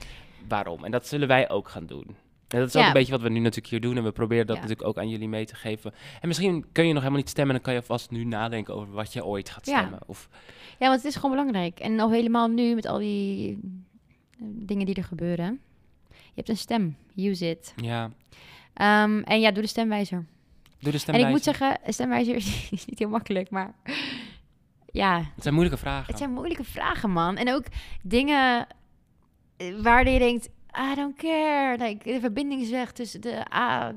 S3: waarom. En dat zullen wij ook gaan doen. En dat is ook
S4: Ja.
S3: een beetje wat we nu natuurlijk hier doen. En we proberen dat
S4: Ja.
S3: natuurlijk ook aan jullie mee te geven. En misschien kun je nog helemaal niet stemmen. Dan kan je vast nu nadenken over wat je ooit gaat
S4: Ja.
S3: stemmen. Of,
S4: Ja, want het is gewoon belangrijk. En al helemaal nu met al die eh, dingen die er gebeuren. Je hebt een stem. Use it.
S3: ja,
S4: Ehm, en ja, doe de stemwijzer.
S3: doe de
S4: En
S3: stemwijzer.
S4: ik moet zeggen, een stemwijzer is niet heel makkelijk, maar ja,
S3: Het zijn moeilijke vragen.
S4: het zijn moeilijke vragen, man. En ook dingen eh, waar je denkt, I don't care. Like, de verbinding is weg tussen de A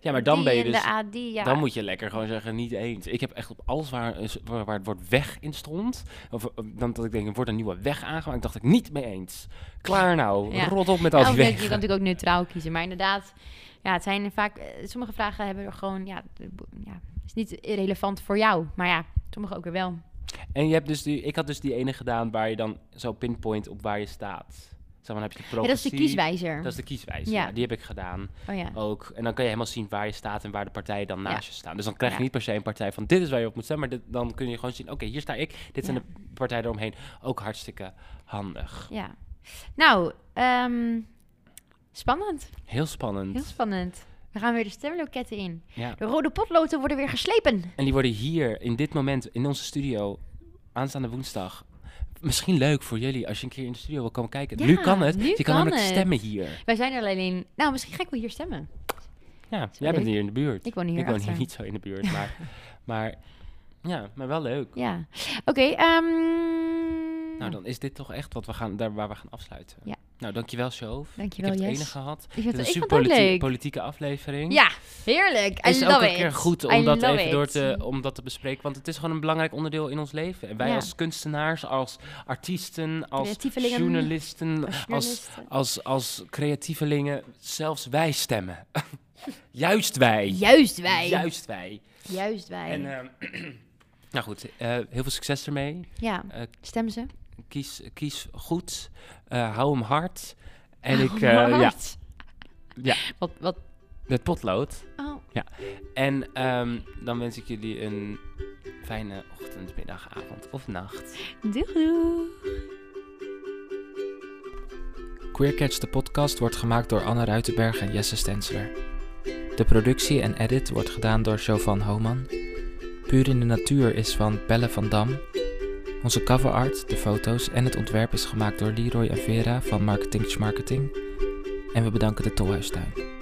S3: ja, maar dan
S4: die
S3: ben je
S4: en
S3: dus...
S4: de A die. Ja.
S3: Dan moet je lekker gewoon zeggen, niet eens. Ik heb echt op alles waar, is- waar, waar het woord weg in stond. Of eh, dan dat ik denk, er wordt een nieuwe weg aangemaakt. Dacht ik niet mee eens. Klaar nou.
S4: Ja. Oh,
S3: Rot op met
S4: Ja,
S3: al
S4: of
S3: die
S4: net, je
S3: wegen.
S4: kan natuurlijk ook neutraal kiezen, maar inderdaad, ja, het zijn vaak eh, sommige vragen hebben er gewoon, ja, de- ja, is niet relevant voor jou, maar ja, sommige ook weer wel.
S3: En je hebt dus die, ik had dus die ene gedaan waar je dan zo pinpoint op waar je staat. Zeg maar, dan heb je de
S4: Ja, dat is de
S3: progressie.
S4: kieswijzer.
S3: Dat is de kieswijze.
S4: Ja.
S3: Ja. Die heb ik gedaan
S4: Oh ja.
S3: ook. En dan kan je helemaal zien waar je staat en waar de partijen dan naast
S4: Ja.
S3: je staan. Dus dan krijg je
S4: Ja.
S3: niet per se een partij van dit is waar je op moet stemmen. Maar dit- dan kun je gewoon zien, oké, hier sta ik. Dit zijn
S4: Ja.
S3: de partijen eromheen. Ook hartstikke handig.
S4: Ja. Nou, ehm, spannend.
S3: Heel spannend.
S4: Heel spannend. We gaan weer de stemloketten in.
S3: Ja.
S4: De rode potloten worden weer geslepen.
S3: En die worden hier in dit moment in onze studio aanstaande woensdag. Misschien leuk voor jullie als je een keer in de studio wil komen kijken.
S4: Ja,
S3: nu kan het.
S4: nu
S3: je kan,
S4: kan
S3: namelijk
S4: het.
S3: stemmen hier.
S4: Wij zijn er alleen. Nou, misschien ga ik wel hier stemmen.
S3: Ja,
S4: wel
S3: jij bent
S4: leuk.
S3: hier in de buurt.
S4: Ik woon hier
S3: Ik woon hier
S4: achter.
S3: niet zo in de buurt, maar, maar ja, maar wel leuk.
S4: Ja. Oké. ehm,
S3: Nou, dan is dit toch echt wat we gaan, daar waar we gaan afsluiten.
S4: Ja.
S3: Nou, dankjewel, Sjoof.
S4: Dankjewel,
S3: Ik heb het
S4: Jess.
S3: ene gehad.
S4: Ik vind
S3: Dit
S4: het,
S3: is
S4: ik
S3: een
S4: vond het ook
S3: superpolitie-
S4: leuk.
S3: politieke aflevering.
S4: Ja, heerlijk. I
S3: Is
S4: love
S3: ook een
S4: it.
S3: keer goed
S4: I
S3: om dat
S4: love
S3: even door
S4: it.
S3: te, om dat te bespreken. Want het is gewoon een belangrijk onderdeel in ons leven. En wij
S4: Ja.
S3: als kunstenaars, als artiesten, als
S4: Creatievelingen.
S3: journalisten, als,
S4: journalisten.
S3: als, als creatievelingen, zelfs wij stemmen. Juist wij.
S4: Juist wij. Juist,
S3: Juist wij.
S4: wij.
S3: En, ehm, nou goed, eh, heel veel succes ermee.
S4: ja,
S3: eh,
S4: stem ze.
S3: Kies, kies goed. Eh, hou hem hard. En ik, eh,
S4: Maar-
S3: ja, Ja.
S4: Wat, wat?
S3: met potlood.
S4: Oh,
S3: En ehm, dan wens ik jullie een fijne ochtend, middag, avond of nacht.
S4: doeg, doeg.
S1: Queercatch de podcast wordt gemaakt door Anne Ruitenberg en Jesse Stensler. De productie en edit wordt gedaan door Jovan Homan. Puur in de natuur is van Belle van Dam.
S3: Onze coverart, de foto's en het ontwerp is gemaakt door Leroy en Vera van Marketing Marketing. En we bedanken de Tolhuistuin.